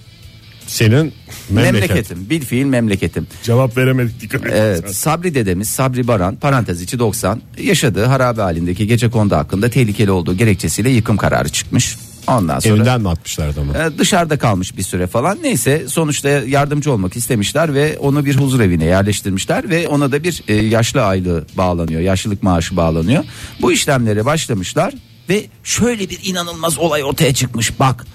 Speaker 4: Senin memleket.
Speaker 5: Memleketim. Bil fiil memleketim.
Speaker 3: Cevap veremedik dikkat edin.
Speaker 5: Evet, Sabri dedemiz Sabri Baran parantez içi 90 yaşadığı harabe halindeki gece kondu hakkında tehlikeli olduğu gerekçesiyle yıkım kararı çıkmış. Ondan sonra
Speaker 4: Evinden mi atmışlar adamı?
Speaker 5: e, dışarıda kalmış bir süre falan. Neyse sonuçta yardımcı olmak istemişler ve onu bir huzur evine yerleştirmişler ve ona da bir e, yaşlı aylığı bağlanıyor. Yaşlılık maaşı bağlanıyor. Bu işlemlere başlamışlar ve şöyle bir inanılmaz olay ortaya çıkmış. Bak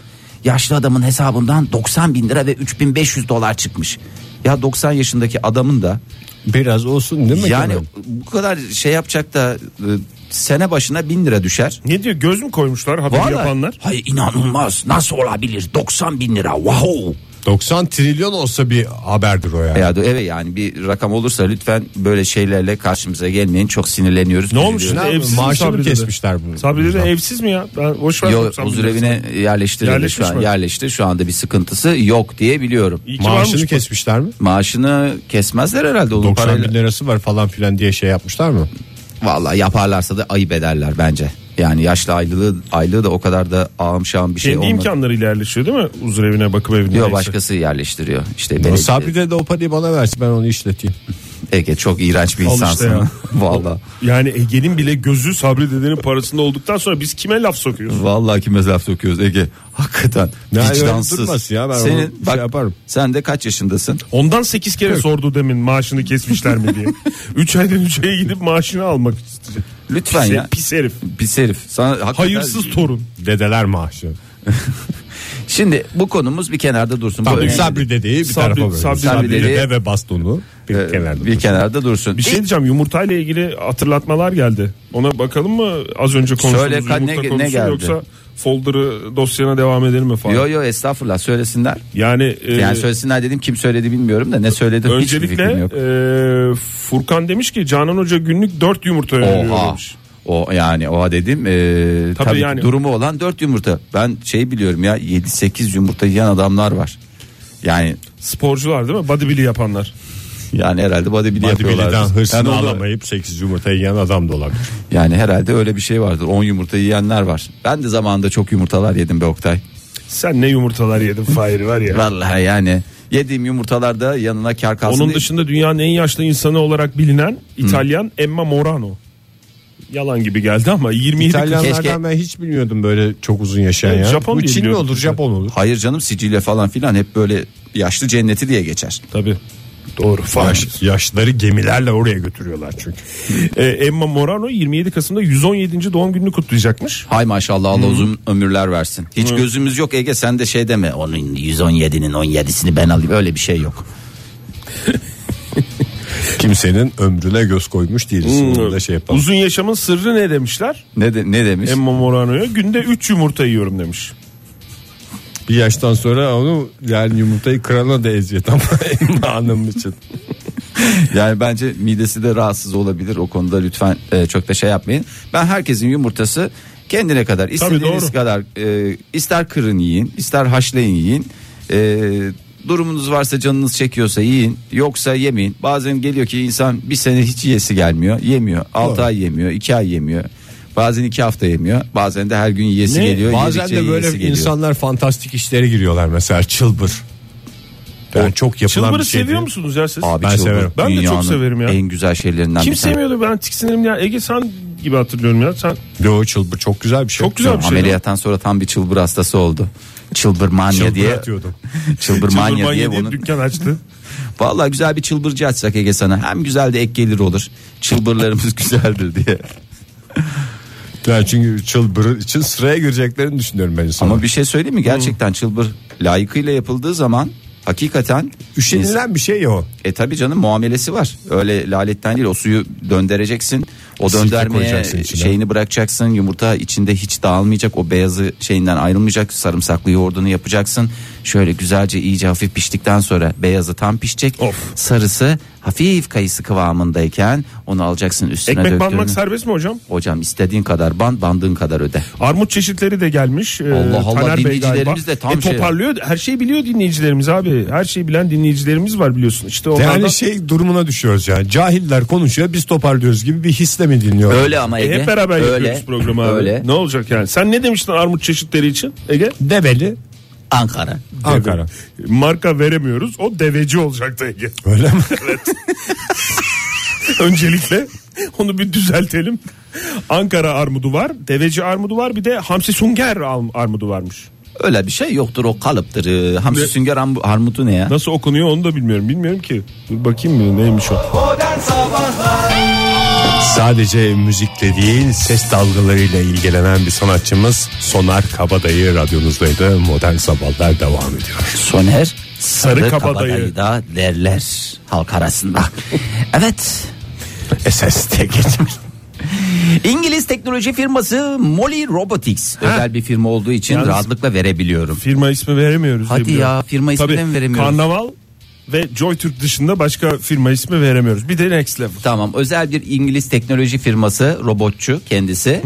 Speaker 5: yaşlı adamın hesabından 90 bin lira ve 3500 dolar çıkmış. Ya 90 yaşındaki adamın da
Speaker 4: Biraz olsun değil mi?
Speaker 5: yani
Speaker 4: Kenan?
Speaker 5: bu kadar şey yapacak da e, sene başına bin lira düşer.
Speaker 3: Ne diyor göz mü koymuşlar haberi
Speaker 5: Vallahi-
Speaker 3: yapanlar?
Speaker 5: Hayır inanılmaz. Nasıl olabilir? 90 bin lira. Wow.
Speaker 4: 90 trilyon olsa bir haberdir o yani.
Speaker 5: Ya da evet yani bir rakam olursa lütfen böyle şeylerle karşımıza gelmeyin. Çok sinirleniyoruz.
Speaker 3: Ne olmuş
Speaker 4: Ne
Speaker 3: şimdi
Speaker 4: yapıyor?
Speaker 3: evsiz mi
Speaker 4: Maaşını
Speaker 3: Sabri dede?
Speaker 4: kesmişler bunu.
Speaker 3: Sabri dede
Speaker 4: Bundan.
Speaker 3: evsiz mi ya? Ben boş ver.
Speaker 5: Yok
Speaker 3: 90 bin
Speaker 5: huzur
Speaker 3: lira.
Speaker 5: evine yerleştirildi
Speaker 3: Yerleşmiş
Speaker 5: şu an.
Speaker 3: mi?
Speaker 5: Yerleşti. Şu anda bir sıkıntısı yok diye biliyorum.
Speaker 3: İyi ki varmış
Speaker 4: Maaşını
Speaker 3: bu.
Speaker 4: kesmişler mi?
Speaker 5: Maaşını kesmezler herhalde onun
Speaker 4: 90
Speaker 5: parayla.
Speaker 4: bin lirası var falan filan diye şey yapmışlar mı?
Speaker 5: Vallahi yaparlarsa da ayıp ederler bence. Yani yaşlı aylığı aylığı da o kadar da ağım şağım bir şey
Speaker 3: Kendi
Speaker 5: olmadı.
Speaker 3: imkanlarıyla yerleşiyor değil mi? Huzur evine bakım evine.
Speaker 5: Yok
Speaker 3: neyse.
Speaker 5: başkası yerleştiriyor. İşte
Speaker 4: O
Speaker 5: belediye-
Speaker 4: Sabri de o parayı bana versin ben onu işleteyim.
Speaker 5: Ege çok iğrenç bir
Speaker 3: Al işte
Speaker 5: insansın. [laughs]
Speaker 3: ya.
Speaker 5: Valla.
Speaker 3: Yani Ege'nin bile gözü Sabri dedenin parasında olduktan sonra biz kime laf sokuyoruz?
Speaker 5: Vallahi kime laf sokuyoruz Ege. Hakikaten
Speaker 4: Ne, öyle
Speaker 5: vicdansız.
Speaker 4: durmasın ya, ben onu
Speaker 5: Senin,
Speaker 4: şey
Speaker 5: bak,
Speaker 4: yaparım.
Speaker 5: Sen de kaç yaşındasın?
Speaker 3: Ondan 8 kere sordu demin maaşını kesmişler
Speaker 5: [laughs]
Speaker 3: mi diye. 3 aydan 3 aya gidip maaşını almak isteyecek.
Speaker 5: Lütfen
Speaker 3: Pis-
Speaker 5: ya.
Speaker 3: Pis herif.
Speaker 5: Pis herif. Sana hakikaten-
Speaker 3: Hayırsız torun.
Speaker 4: Dedeler maaşı.
Speaker 5: Şimdi bu konumuz bir kenarda dursun. Bu
Speaker 4: Tabii
Speaker 5: önemli.
Speaker 4: Sabri dedeyi bir
Speaker 3: Sabri-
Speaker 4: tarafa bırakın.
Speaker 3: Sabri E,
Speaker 4: Sabri,
Speaker 5: dedeyi-
Speaker 4: dede ve bastonu bir
Speaker 5: Ee,
Speaker 4: kenarda.
Speaker 5: bir kenarda dursun.
Speaker 3: Bir şey
Speaker 5: İlk-
Speaker 3: diyeceğim yumurtayla ilgili hatırlatmalar geldi. Ona bakalım mı az önce konuştuğumuz
Speaker 5: Söyle,
Speaker 3: yumurta
Speaker 5: ne- ne
Speaker 3: konusu
Speaker 5: geldi?
Speaker 3: yoksa folder'ı dosyana devam edelim mi falan.
Speaker 5: Yo yo estağfurullah söylesinler.
Speaker 3: Yani, e,
Speaker 5: Yani söylesinler dedim kim söyledi bilmiyorum da ne söyledi hiçbir
Speaker 3: öncelikle
Speaker 5: fikrim yok.
Speaker 3: e, Furkan demiş ki Canan Hoca günlük 4 yumurta öneriyor
Speaker 5: Oha.
Speaker 3: demiş.
Speaker 5: O yani oha dedim e, tabii,
Speaker 3: yani.
Speaker 5: durumu olan 4 yumurta. Ben şey biliyorum ya 7-8 yumurta yiyen adamlar var. Yani
Speaker 3: Sporcular değil mi? Bodybuilding yapanlar.
Speaker 5: yani herhalde bodybuilding yapıyorlar.
Speaker 4: Bodybuilding'den hırsını
Speaker 5: Yani o da-
Speaker 4: alamayıp 8 yumurta yiyen adam da olabilir.
Speaker 5: Yani herhalde öyle bir şey vardır. 10 yumurta yiyenler var. Ben de zamanında çok yumurtalar yedim be Oktay.
Speaker 3: Sen ne yumurtalar yedin
Speaker 5: [laughs]
Speaker 3: Fahir var ya.
Speaker 5: Vallahi yani yediğim yumurtalarda yanına kar kalsın.
Speaker 3: Onun
Speaker 5: diye-
Speaker 3: dışında dünyanın en yaşlı insanı olarak bilinen İtalyan Emma Morano. Yalan gibi geldi ama 27
Speaker 4: İtalyanlardan
Speaker 5: Keşke-
Speaker 4: ben hiç bilmiyordum böyle çok uzun yaşayan
Speaker 3: Evet,
Speaker 4: ya.
Speaker 3: Japon
Speaker 4: Bu
Speaker 3: diye
Speaker 4: Çinli
Speaker 3: biliyorum.
Speaker 4: olur Japon olur.
Speaker 5: Hayır canım Sicilya falan filan hep böyle yaşlı cenneti diye geçer. [laughs]
Speaker 3: Tabii. Doğru. Fahir.
Speaker 4: Yaş- yaşları gemilerle oraya götürüyorlar çünkü.
Speaker 3: Ee, Emma Morano 27 Kasım'da 117. doğum gününü kutlayacakmış.
Speaker 5: Hay maşallah Allah uzun ömürler versin. Hiç gözümüz yok Ege sen de şey deme. Onun 117'nin 17'sini ben alayım öyle bir şey yok.
Speaker 4: Kimsenin ömrüne göz koymuş
Speaker 5: Hmm.
Speaker 4: değiliz.
Speaker 3: Hmm.
Speaker 4: Onu da şey yapalım.
Speaker 3: Uzun yaşamın sırrı
Speaker 5: [laughs]
Speaker 3: ne demişler?
Speaker 5: Ne de, ne demiş?
Speaker 3: Emma Morano'ya günde 3 yumurta yiyorum demiş.
Speaker 4: Bir yaştan sonra onu yani yumurtayı kırana da eziyet ama [laughs] Emma Hanım için.
Speaker 5: Yani bence midesi de rahatsız olabilir o konuda lütfen e, çok da şey yapmayın. Ben herkesin yumurtası kendine kadar istediğiniz
Speaker 3: doğru.
Speaker 5: kadar e, ister kırın yiyin ister haşlayın yiyin. E, durumunuz varsa canınız çekiyorsa yiyin yoksa yemeyin. Bazen geliyor ki insan bir sene hiç yesi gelmiyor yemiyor 6 ay yemiyor 2 ay yemiyor. Bazen iki hafta yemiyor. Bazen de her gün yiyesi
Speaker 3: Ne?
Speaker 5: geliyor.
Speaker 4: Bazen
Speaker 5: yedikçe
Speaker 4: de böyle
Speaker 5: yiyesi geliyor.
Speaker 4: insanlar fantastik işlere giriyorlar mesela çılbır. Yani çok yapılan
Speaker 3: Çılbırı
Speaker 4: bir şey.
Speaker 3: seviyor
Speaker 4: değil.
Speaker 3: musunuz ya siz?
Speaker 5: Abi
Speaker 4: Ben
Speaker 5: çılgın.
Speaker 4: severim.
Speaker 3: Ben de çok
Speaker 5: Dünyanın
Speaker 3: severim ya.
Speaker 5: En güzel şeylerinden
Speaker 3: Kim
Speaker 5: bir tanesi.
Speaker 3: sevmiyordu ben tiksinirim ya. Ege sen gibi hatırlıyorum ya. Sen
Speaker 4: Yo çılbır çok güzel bir şey.
Speaker 3: Çok güzel bir şey.
Speaker 5: Ameliyattan sonra tam bir çılbır hastası oldu. Çılbır manya
Speaker 4: Çılbır
Speaker 5: diye. [laughs]
Speaker 4: atıyordum.
Speaker 5: Çılbır manya diye bunu.
Speaker 3: dükkan açtı.
Speaker 5: Vallahi güzel bir çılbırcı açsak Ege sana. Hem güzel de ek gelir olur. Çılbırlarımız [laughs] güzeldir diye.
Speaker 4: Yani çünkü çılbırın için sıraya gireceklerini düşünüyorum ben sonra.
Speaker 5: Ama bir şey söyleyeyim mi? Gerçekten çılbır layıkıyla yapıldığı zaman hakikaten
Speaker 4: Üşenilen bir şey ya o.
Speaker 5: E tabi canım muamelesi var. Öyle laletten değil o suyu döndüreceksin. O
Speaker 4: Sirke
Speaker 5: döndürmeye
Speaker 4: koyacaksın içine.
Speaker 5: şeyini bırakacaksın. Yumurta içinde hiç dağılmayacak. O beyazı şeyinden ayrılmayacak. Sarımsaklı yoğurdunu yapacaksın. Şöyle güzelce iyice hafif piştikten sonra beyazı tam pişecek.
Speaker 3: Of.
Speaker 5: Sarısı hafif kayısı kıvamındayken onu alacaksın üstüne
Speaker 3: Ekmek
Speaker 5: döktüğünü.
Speaker 3: banmak serbest mi hocam?
Speaker 5: Hocam istediğin kadar ban bandığın kadar öde.
Speaker 3: Armut çeşitleri de gelmiş. Ee,
Speaker 5: Allah Allah,
Speaker 3: Taner Bey
Speaker 5: dinleyicilerimiz
Speaker 3: galiba.
Speaker 5: de tam
Speaker 3: e,
Speaker 5: şey-
Speaker 3: toparlıyor. Her şeyi biliyor dinleyicilerimiz abi. Her şeyi bilen dinleyicilerimiz var biliyorsun. İşte
Speaker 4: Yani
Speaker 3: onlardan
Speaker 4: şey durumuna düşüyoruz yani. Cahiller konuşuyor biz toparlıyoruz gibi bir hisle mi dinliyor?
Speaker 5: Öyle ama Ege.
Speaker 3: E, hep beraber
Speaker 5: öyle,
Speaker 3: yapıyoruz programı abi.
Speaker 5: Öyle.
Speaker 3: Ne olacak yani? Sen ne demiştin armut çeşitleri için Ege?
Speaker 4: Develi
Speaker 5: Ankara.
Speaker 4: Ankara.
Speaker 3: Marka veremiyoruz. O deveci olacaktı Ege.
Speaker 4: Öyle
Speaker 3: [laughs]
Speaker 4: mi?
Speaker 3: Öncelikle onu bir düzeltelim. Ankara armudu var, deveci armudu var, bir de hamsi sünger al- armudu varmış.
Speaker 5: Öyle bir şey yoktur o kalıptır. Ee, Hamsi sünger am- armutu ne ya?
Speaker 3: Nasıl okunuyor onu da bilmiyorum. Bilmiyorum ki. Dur bakayım mı neymiş o?
Speaker 2: Modern Sabahlar
Speaker 4: Sadece müzikle değil ses dalgalarıyla ilgilenen bir sanatçımız Sonar Kabadayı radyonuzdaydı. Modern Sabahlar devam ediyor.
Speaker 5: Soner Sarı,
Speaker 3: Kabadayı.
Speaker 5: Kabadayı da derler halk
Speaker 3: [laughs]
Speaker 5: arasında. evet.
Speaker 4: Ses de
Speaker 5: İngiliz teknoloji firması Molly Robotics özel bir firma olduğu için
Speaker 3: Yalnız-
Speaker 5: rahatlıkla verebiliyorum.
Speaker 3: Firma ismi veremiyoruz.
Speaker 5: Hadi
Speaker 3: diye biliyorum.
Speaker 5: ya, firma ismi de mi veremiyoruz?
Speaker 3: Karnaval ve JoyTürk dışında başka firma ismi veremiyoruz. Bir de Next Level.
Speaker 5: Tamam özel bir İngiliz teknoloji firması robotçu kendisi.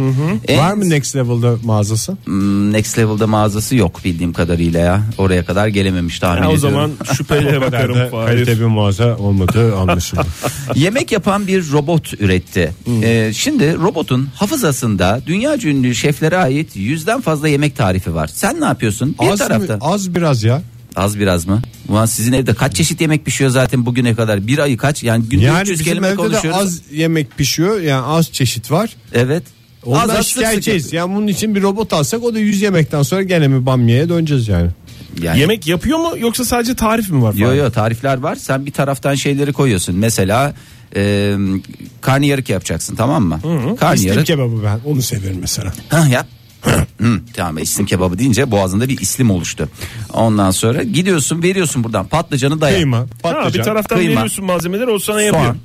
Speaker 5: En-
Speaker 4: Var mı Next Level'da mağazası?
Speaker 5: Hmm, Next Level'da mağazası yok bildiğim kadarıyla ya. Oraya kadar gelememiş tahmin
Speaker 3: Ya o
Speaker 5: ediyorum. [laughs]
Speaker 3: zaman şüpheyle
Speaker 4: Nerede
Speaker 3: bakarım. Fahir.
Speaker 4: kalite bir mağaza olmadığı anlaşıldı.
Speaker 5: [laughs] Yemek yapan bir robot üretti.
Speaker 4: Hmm.
Speaker 5: Ee, şimdi robotun hafızasında dünya ünlü şeflere ait yüzden fazla yemek tarifi var. Sen ne yapıyorsun? Bir
Speaker 4: az, mı-
Speaker 5: tarafta.
Speaker 4: az biraz ya.
Speaker 5: Az biraz mı? Ulan sizin evde kaç çeşit yemek pişiyor zaten bugüne kadar? Bir ayı kaç? Yani günde
Speaker 4: Yani
Speaker 5: 300
Speaker 4: bizim
Speaker 5: kelime
Speaker 4: evde de
Speaker 5: konuşuyoruz.
Speaker 4: az yemek pişiyor yani az çeşit var.
Speaker 5: Evet.
Speaker 4: Ondan
Speaker 5: az, sık sık
Speaker 4: şikayetçiyiz.
Speaker 5: yapıyor.
Speaker 4: Yani bunun için bir robot alsak o da 100 yemekten sonra gene mi bamya'ya döneceğiz yani.
Speaker 5: Yani-
Speaker 3: Yemek yapıyor mu yoksa sadece tarif mi var?
Speaker 5: Yo
Speaker 3: Fahir?
Speaker 5: yo tarifler var. Sen bir taraftan şeyleri koyuyorsun. Mesela e, karnıyarık yapacaksın tamam mı?
Speaker 4: İstim
Speaker 5: Karnıyarık.
Speaker 4: kebabı ben onu severim mesela.
Speaker 5: Ha yap. [clears throat] Hı, tamam islim kebabı deyince boğazında bir islim oluştu. Ondan sonra gidiyorsun veriyorsun buradan patlıcanı dayan.
Speaker 4: Kıyma,
Speaker 3: Ha, bir
Speaker 4: patlıcan.
Speaker 3: taraftan
Speaker 5: kıyma.
Speaker 3: veriyorsun malzemeleri o sana yapıyor.
Speaker 5: Soğan.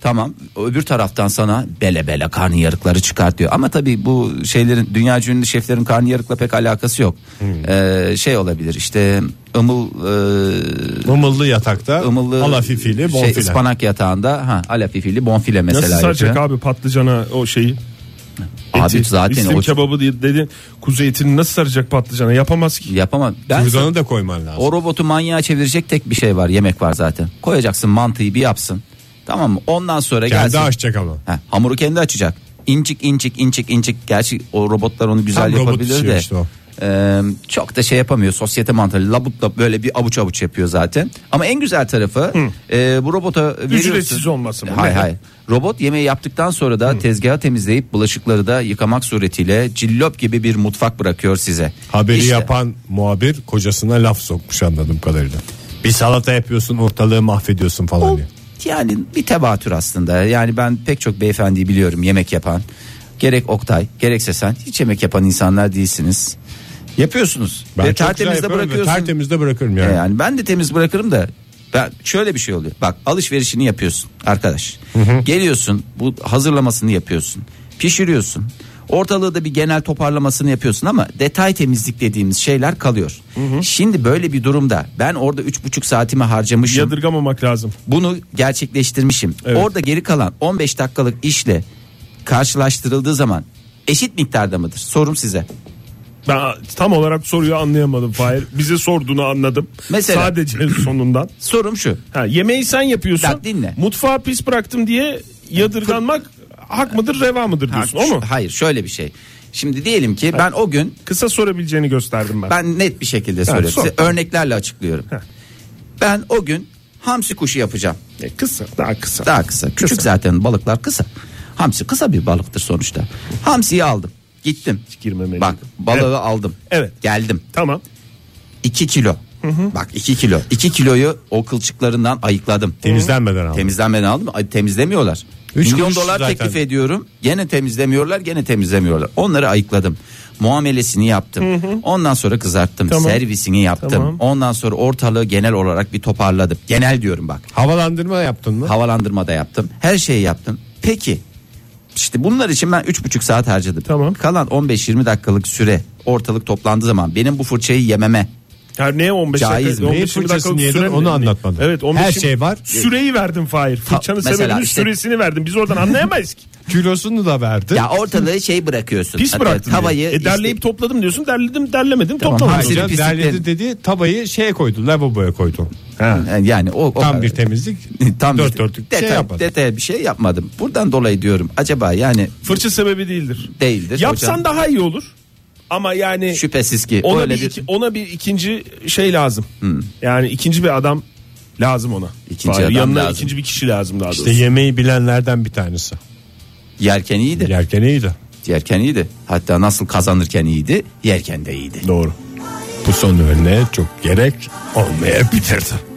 Speaker 5: Tamam öbür taraftan sana bele bele karnıyarıkları çıkart diyor. Ama tabii bu şeylerin dünya ünlü şeflerin karnıyarıkla pek alakası yok. Ee, şey olabilir işte ımıl e,
Speaker 4: Imıllı yatakta
Speaker 5: ımıllı
Speaker 4: alafifili
Speaker 5: şey,
Speaker 4: bonfile.
Speaker 5: ıspanak yatağında ha alafifili bonfile mesela
Speaker 3: Nasıl saracak
Speaker 5: yapıyor.
Speaker 3: abi patlıcana o şeyi?
Speaker 5: Abi zaten
Speaker 3: İslim
Speaker 5: o
Speaker 3: kebabı diye dedin. Kuzu etini nasıl saracak patlıcana? Yapamaz ki.
Speaker 5: yapamam. Ben
Speaker 4: Kürdanı da koyman lazım.
Speaker 5: o robotu manyağa çevirecek tek bir şey var. Yemek var zaten. Koyacaksın mantıyı bir yapsın. Tamam mı? Ondan sonra
Speaker 4: Kendi
Speaker 5: gelsin.
Speaker 4: açacak ama.
Speaker 5: Ha, hamuru kendi açacak. İncik incik incik incik. Gerçi o robotlar onu güzel
Speaker 4: Tam robot
Speaker 5: yapabilir
Speaker 4: işiyor
Speaker 5: de.
Speaker 4: işte o.
Speaker 5: Ee, çok da şey yapamıyor. Sosyete mantarı labutla böyle bir avuç avuç yapıyor zaten. Ama en güzel tarafı e, bu robota veriyorsun.
Speaker 3: Ücretsiz olması mı?
Speaker 5: Hayır
Speaker 3: Ne?
Speaker 5: hayır. Robot yemeği yaptıktan sonra da tezgahı temizleyip bulaşıkları da yıkamak suretiyle cillop gibi bir mutfak bırakıyor size.
Speaker 4: Haberi
Speaker 5: İşte.
Speaker 4: yapan muhabir kocasına laf sokmuş anladığım kadarıyla. Bir salata yapıyorsun ortalığı mahvediyorsun falan
Speaker 5: Oh.
Speaker 4: diye.
Speaker 5: Yani bir tebatür aslında. Yani ben pek çok beyefendiyi biliyorum yemek yapan. Gerek Oktay gerekse sen hiç yemek yapan insanlar değilsiniz. Yapıyorsunuz.
Speaker 4: Ben
Speaker 5: ve
Speaker 4: çok güzel
Speaker 5: E, tertemiz de
Speaker 4: yapıyorum ve
Speaker 5: bırakıyorsun. E,
Speaker 4: Tertemiz de bırakırım yani.
Speaker 5: Yani. ben de temiz bırakırım da ben şöyle bir şey oluyor. Bak alışverişini yapıyorsun arkadaş. Geliyorsun bu hazırlamasını yapıyorsun. Pişiriyorsun. Ortalığı da bir genel toparlamasını yapıyorsun ama detay temizlik dediğimiz şeyler kalıyor. Şimdi böyle bir durumda ben orada üç buçuk saatimi harcamışım
Speaker 3: Yadırgamamak lazım.
Speaker 5: bunu gerçekleştirmişim. Orada geri kalan 15 dakikalık işle karşılaştırıldığı zaman eşit miktarda mıdır? Sorum size.
Speaker 3: Ben tam olarak soruyu anlayamadım Fahir. Bize sorduğunu anladım.
Speaker 5: Mesela-
Speaker 3: Sadece sonundan.
Speaker 5: Sorum şu.
Speaker 3: Ha, yemeği sen yapıyorsun.
Speaker 5: Bak dinle.
Speaker 3: Mutfağı pis bıraktım diye yadırganmak hak mıdır reva mıdır diyorsun
Speaker 5: Ha,
Speaker 3: o
Speaker 5: şu-
Speaker 3: mu?
Speaker 5: Hayır şöyle bir şey. Şimdi diyelim ki ben o gün
Speaker 3: Kısa sorabileceğini gösterdim ben.
Speaker 5: ben net bir şekilde söylüyorum.
Speaker 3: sor.
Speaker 5: Size örneklerle açıklıyorum. Ben o gün hamsi kuşu yapacağım.
Speaker 3: E, kısa daha kısa.
Speaker 5: Daha kısa. Küçük zaten balıklar kısa. Hamsi kısa bir balıktır sonuçta. Hamsiyi aldım. Gittim.
Speaker 3: girmemeliydim.
Speaker 5: Bak balığı
Speaker 3: Evet.
Speaker 5: aldım.
Speaker 3: Evet.
Speaker 5: Geldim.
Speaker 3: Tamam.
Speaker 5: 2 kilo. Bak 2 kilo. 2 kiloyu o kılçıklarından ayıkladım.
Speaker 4: Temizlenmeden aldım.
Speaker 5: Temizlenmeden aldım. Ay, temizlemiyorlar.
Speaker 4: Üç
Speaker 5: Milyon
Speaker 4: kuruş
Speaker 5: dolar
Speaker 4: zaten.
Speaker 5: teklif ediyorum. Gene temizlemiyorlar, gene temizlemiyorlar. Onları ayıkladım. Muamelesini yaptım. Ondan sonra kızarttım.
Speaker 3: Tamam.
Speaker 5: Servisini yaptım.
Speaker 3: Tamam.
Speaker 5: Ondan sonra ortalığı genel olarak bir toparladım. Genel diyorum bak.
Speaker 4: Havalandırma yaptın mı?
Speaker 5: Havalandırma da yaptım. Her şeyi yaptım. Peki işte bunlar için ben 3,5 saat harcadım.
Speaker 3: Tamam.
Speaker 5: Kalan 15-20 dakikalık süre ortalık toplandığı zaman benim bu fırçayı yememe
Speaker 3: Her neye 15
Speaker 5: Caiz
Speaker 3: dakika?
Speaker 5: mi?
Speaker 3: 15
Speaker 4: Neyin
Speaker 3: dakikalık
Speaker 4: fırçasını yedin
Speaker 3: süre mi?
Speaker 4: onu anlatmadın.
Speaker 3: Evet 15
Speaker 4: Her şey var.
Speaker 3: Süreyi verdin Fahir. Fırçanın
Speaker 5: mesela
Speaker 3: sebebinin
Speaker 5: işte-
Speaker 3: süresini verdin. Biz oradan
Speaker 5: [laughs]
Speaker 3: anlayamayız ki.
Speaker 4: Kilosunu da verdi.
Speaker 5: Ya ortalığı şey bırakıyorsun.
Speaker 3: Pis
Speaker 5: Hatta
Speaker 3: bıraktın.
Speaker 5: Tavayı
Speaker 3: diye. E, derleyip
Speaker 5: işte-
Speaker 3: topladım diyorsun. Derledim derlemedim
Speaker 5: Tamam,
Speaker 3: toplamadım.
Speaker 5: hamsi-
Speaker 4: Ayrıca
Speaker 5: pisliklerin-
Speaker 4: derledi dedi tavayı şeye koydu lavaboya koydu.
Speaker 5: yani o, o
Speaker 4: Tam bir temizlik.
Speaker 5: [laughs] tam
Speaker 4: dört
Speaker 5: bir
Speaker 4: dörtlük
Speaker 5: detay,
Speaker 4: şey yapmadı.
Speaker 5: detay bir şey yapmadım. Buradan dolayı diyorum acaba yani
Speaker 3: Fırça sebebi değildir.
Speaker 5: değildir.
Speaker 3: Yapsan
Speaker 5: Hocam,
Speaker 3: daha iyi olur. Ama yani
Speaker 5: şüphesiz ki
Speaker 3: E, ona
Speaker 5: öyle
Speaker 3: bir,
Speaker 5: bir, Hmm.
Speaker 3: iki- ona bir ikinci şey lazım. Yani ikinci bir adam lazım ona.
Speaker 5: İkinci
Speaker 3: Fahir,
Speaker 5: adam
Speaker 3: Yanına
Speaker 5: lazım.
Speaker 3: ikinci bir kişi lazım daha
Speaker 4: İşte
Speaker 3: doğrusu.
Speaker 4: yemeği bilenlerden bir tanesi.
Speaker 5: yerken iyiydi.
Speaker 4: Yerken iyiydi.
Speaker 5: Yerken iyiydi. Hatta nasıl kazanırken iyiydi, yerken de iyiydi.
Speaker 4: Doğru. Bu son örneğe çok gerek olmayabilirdi.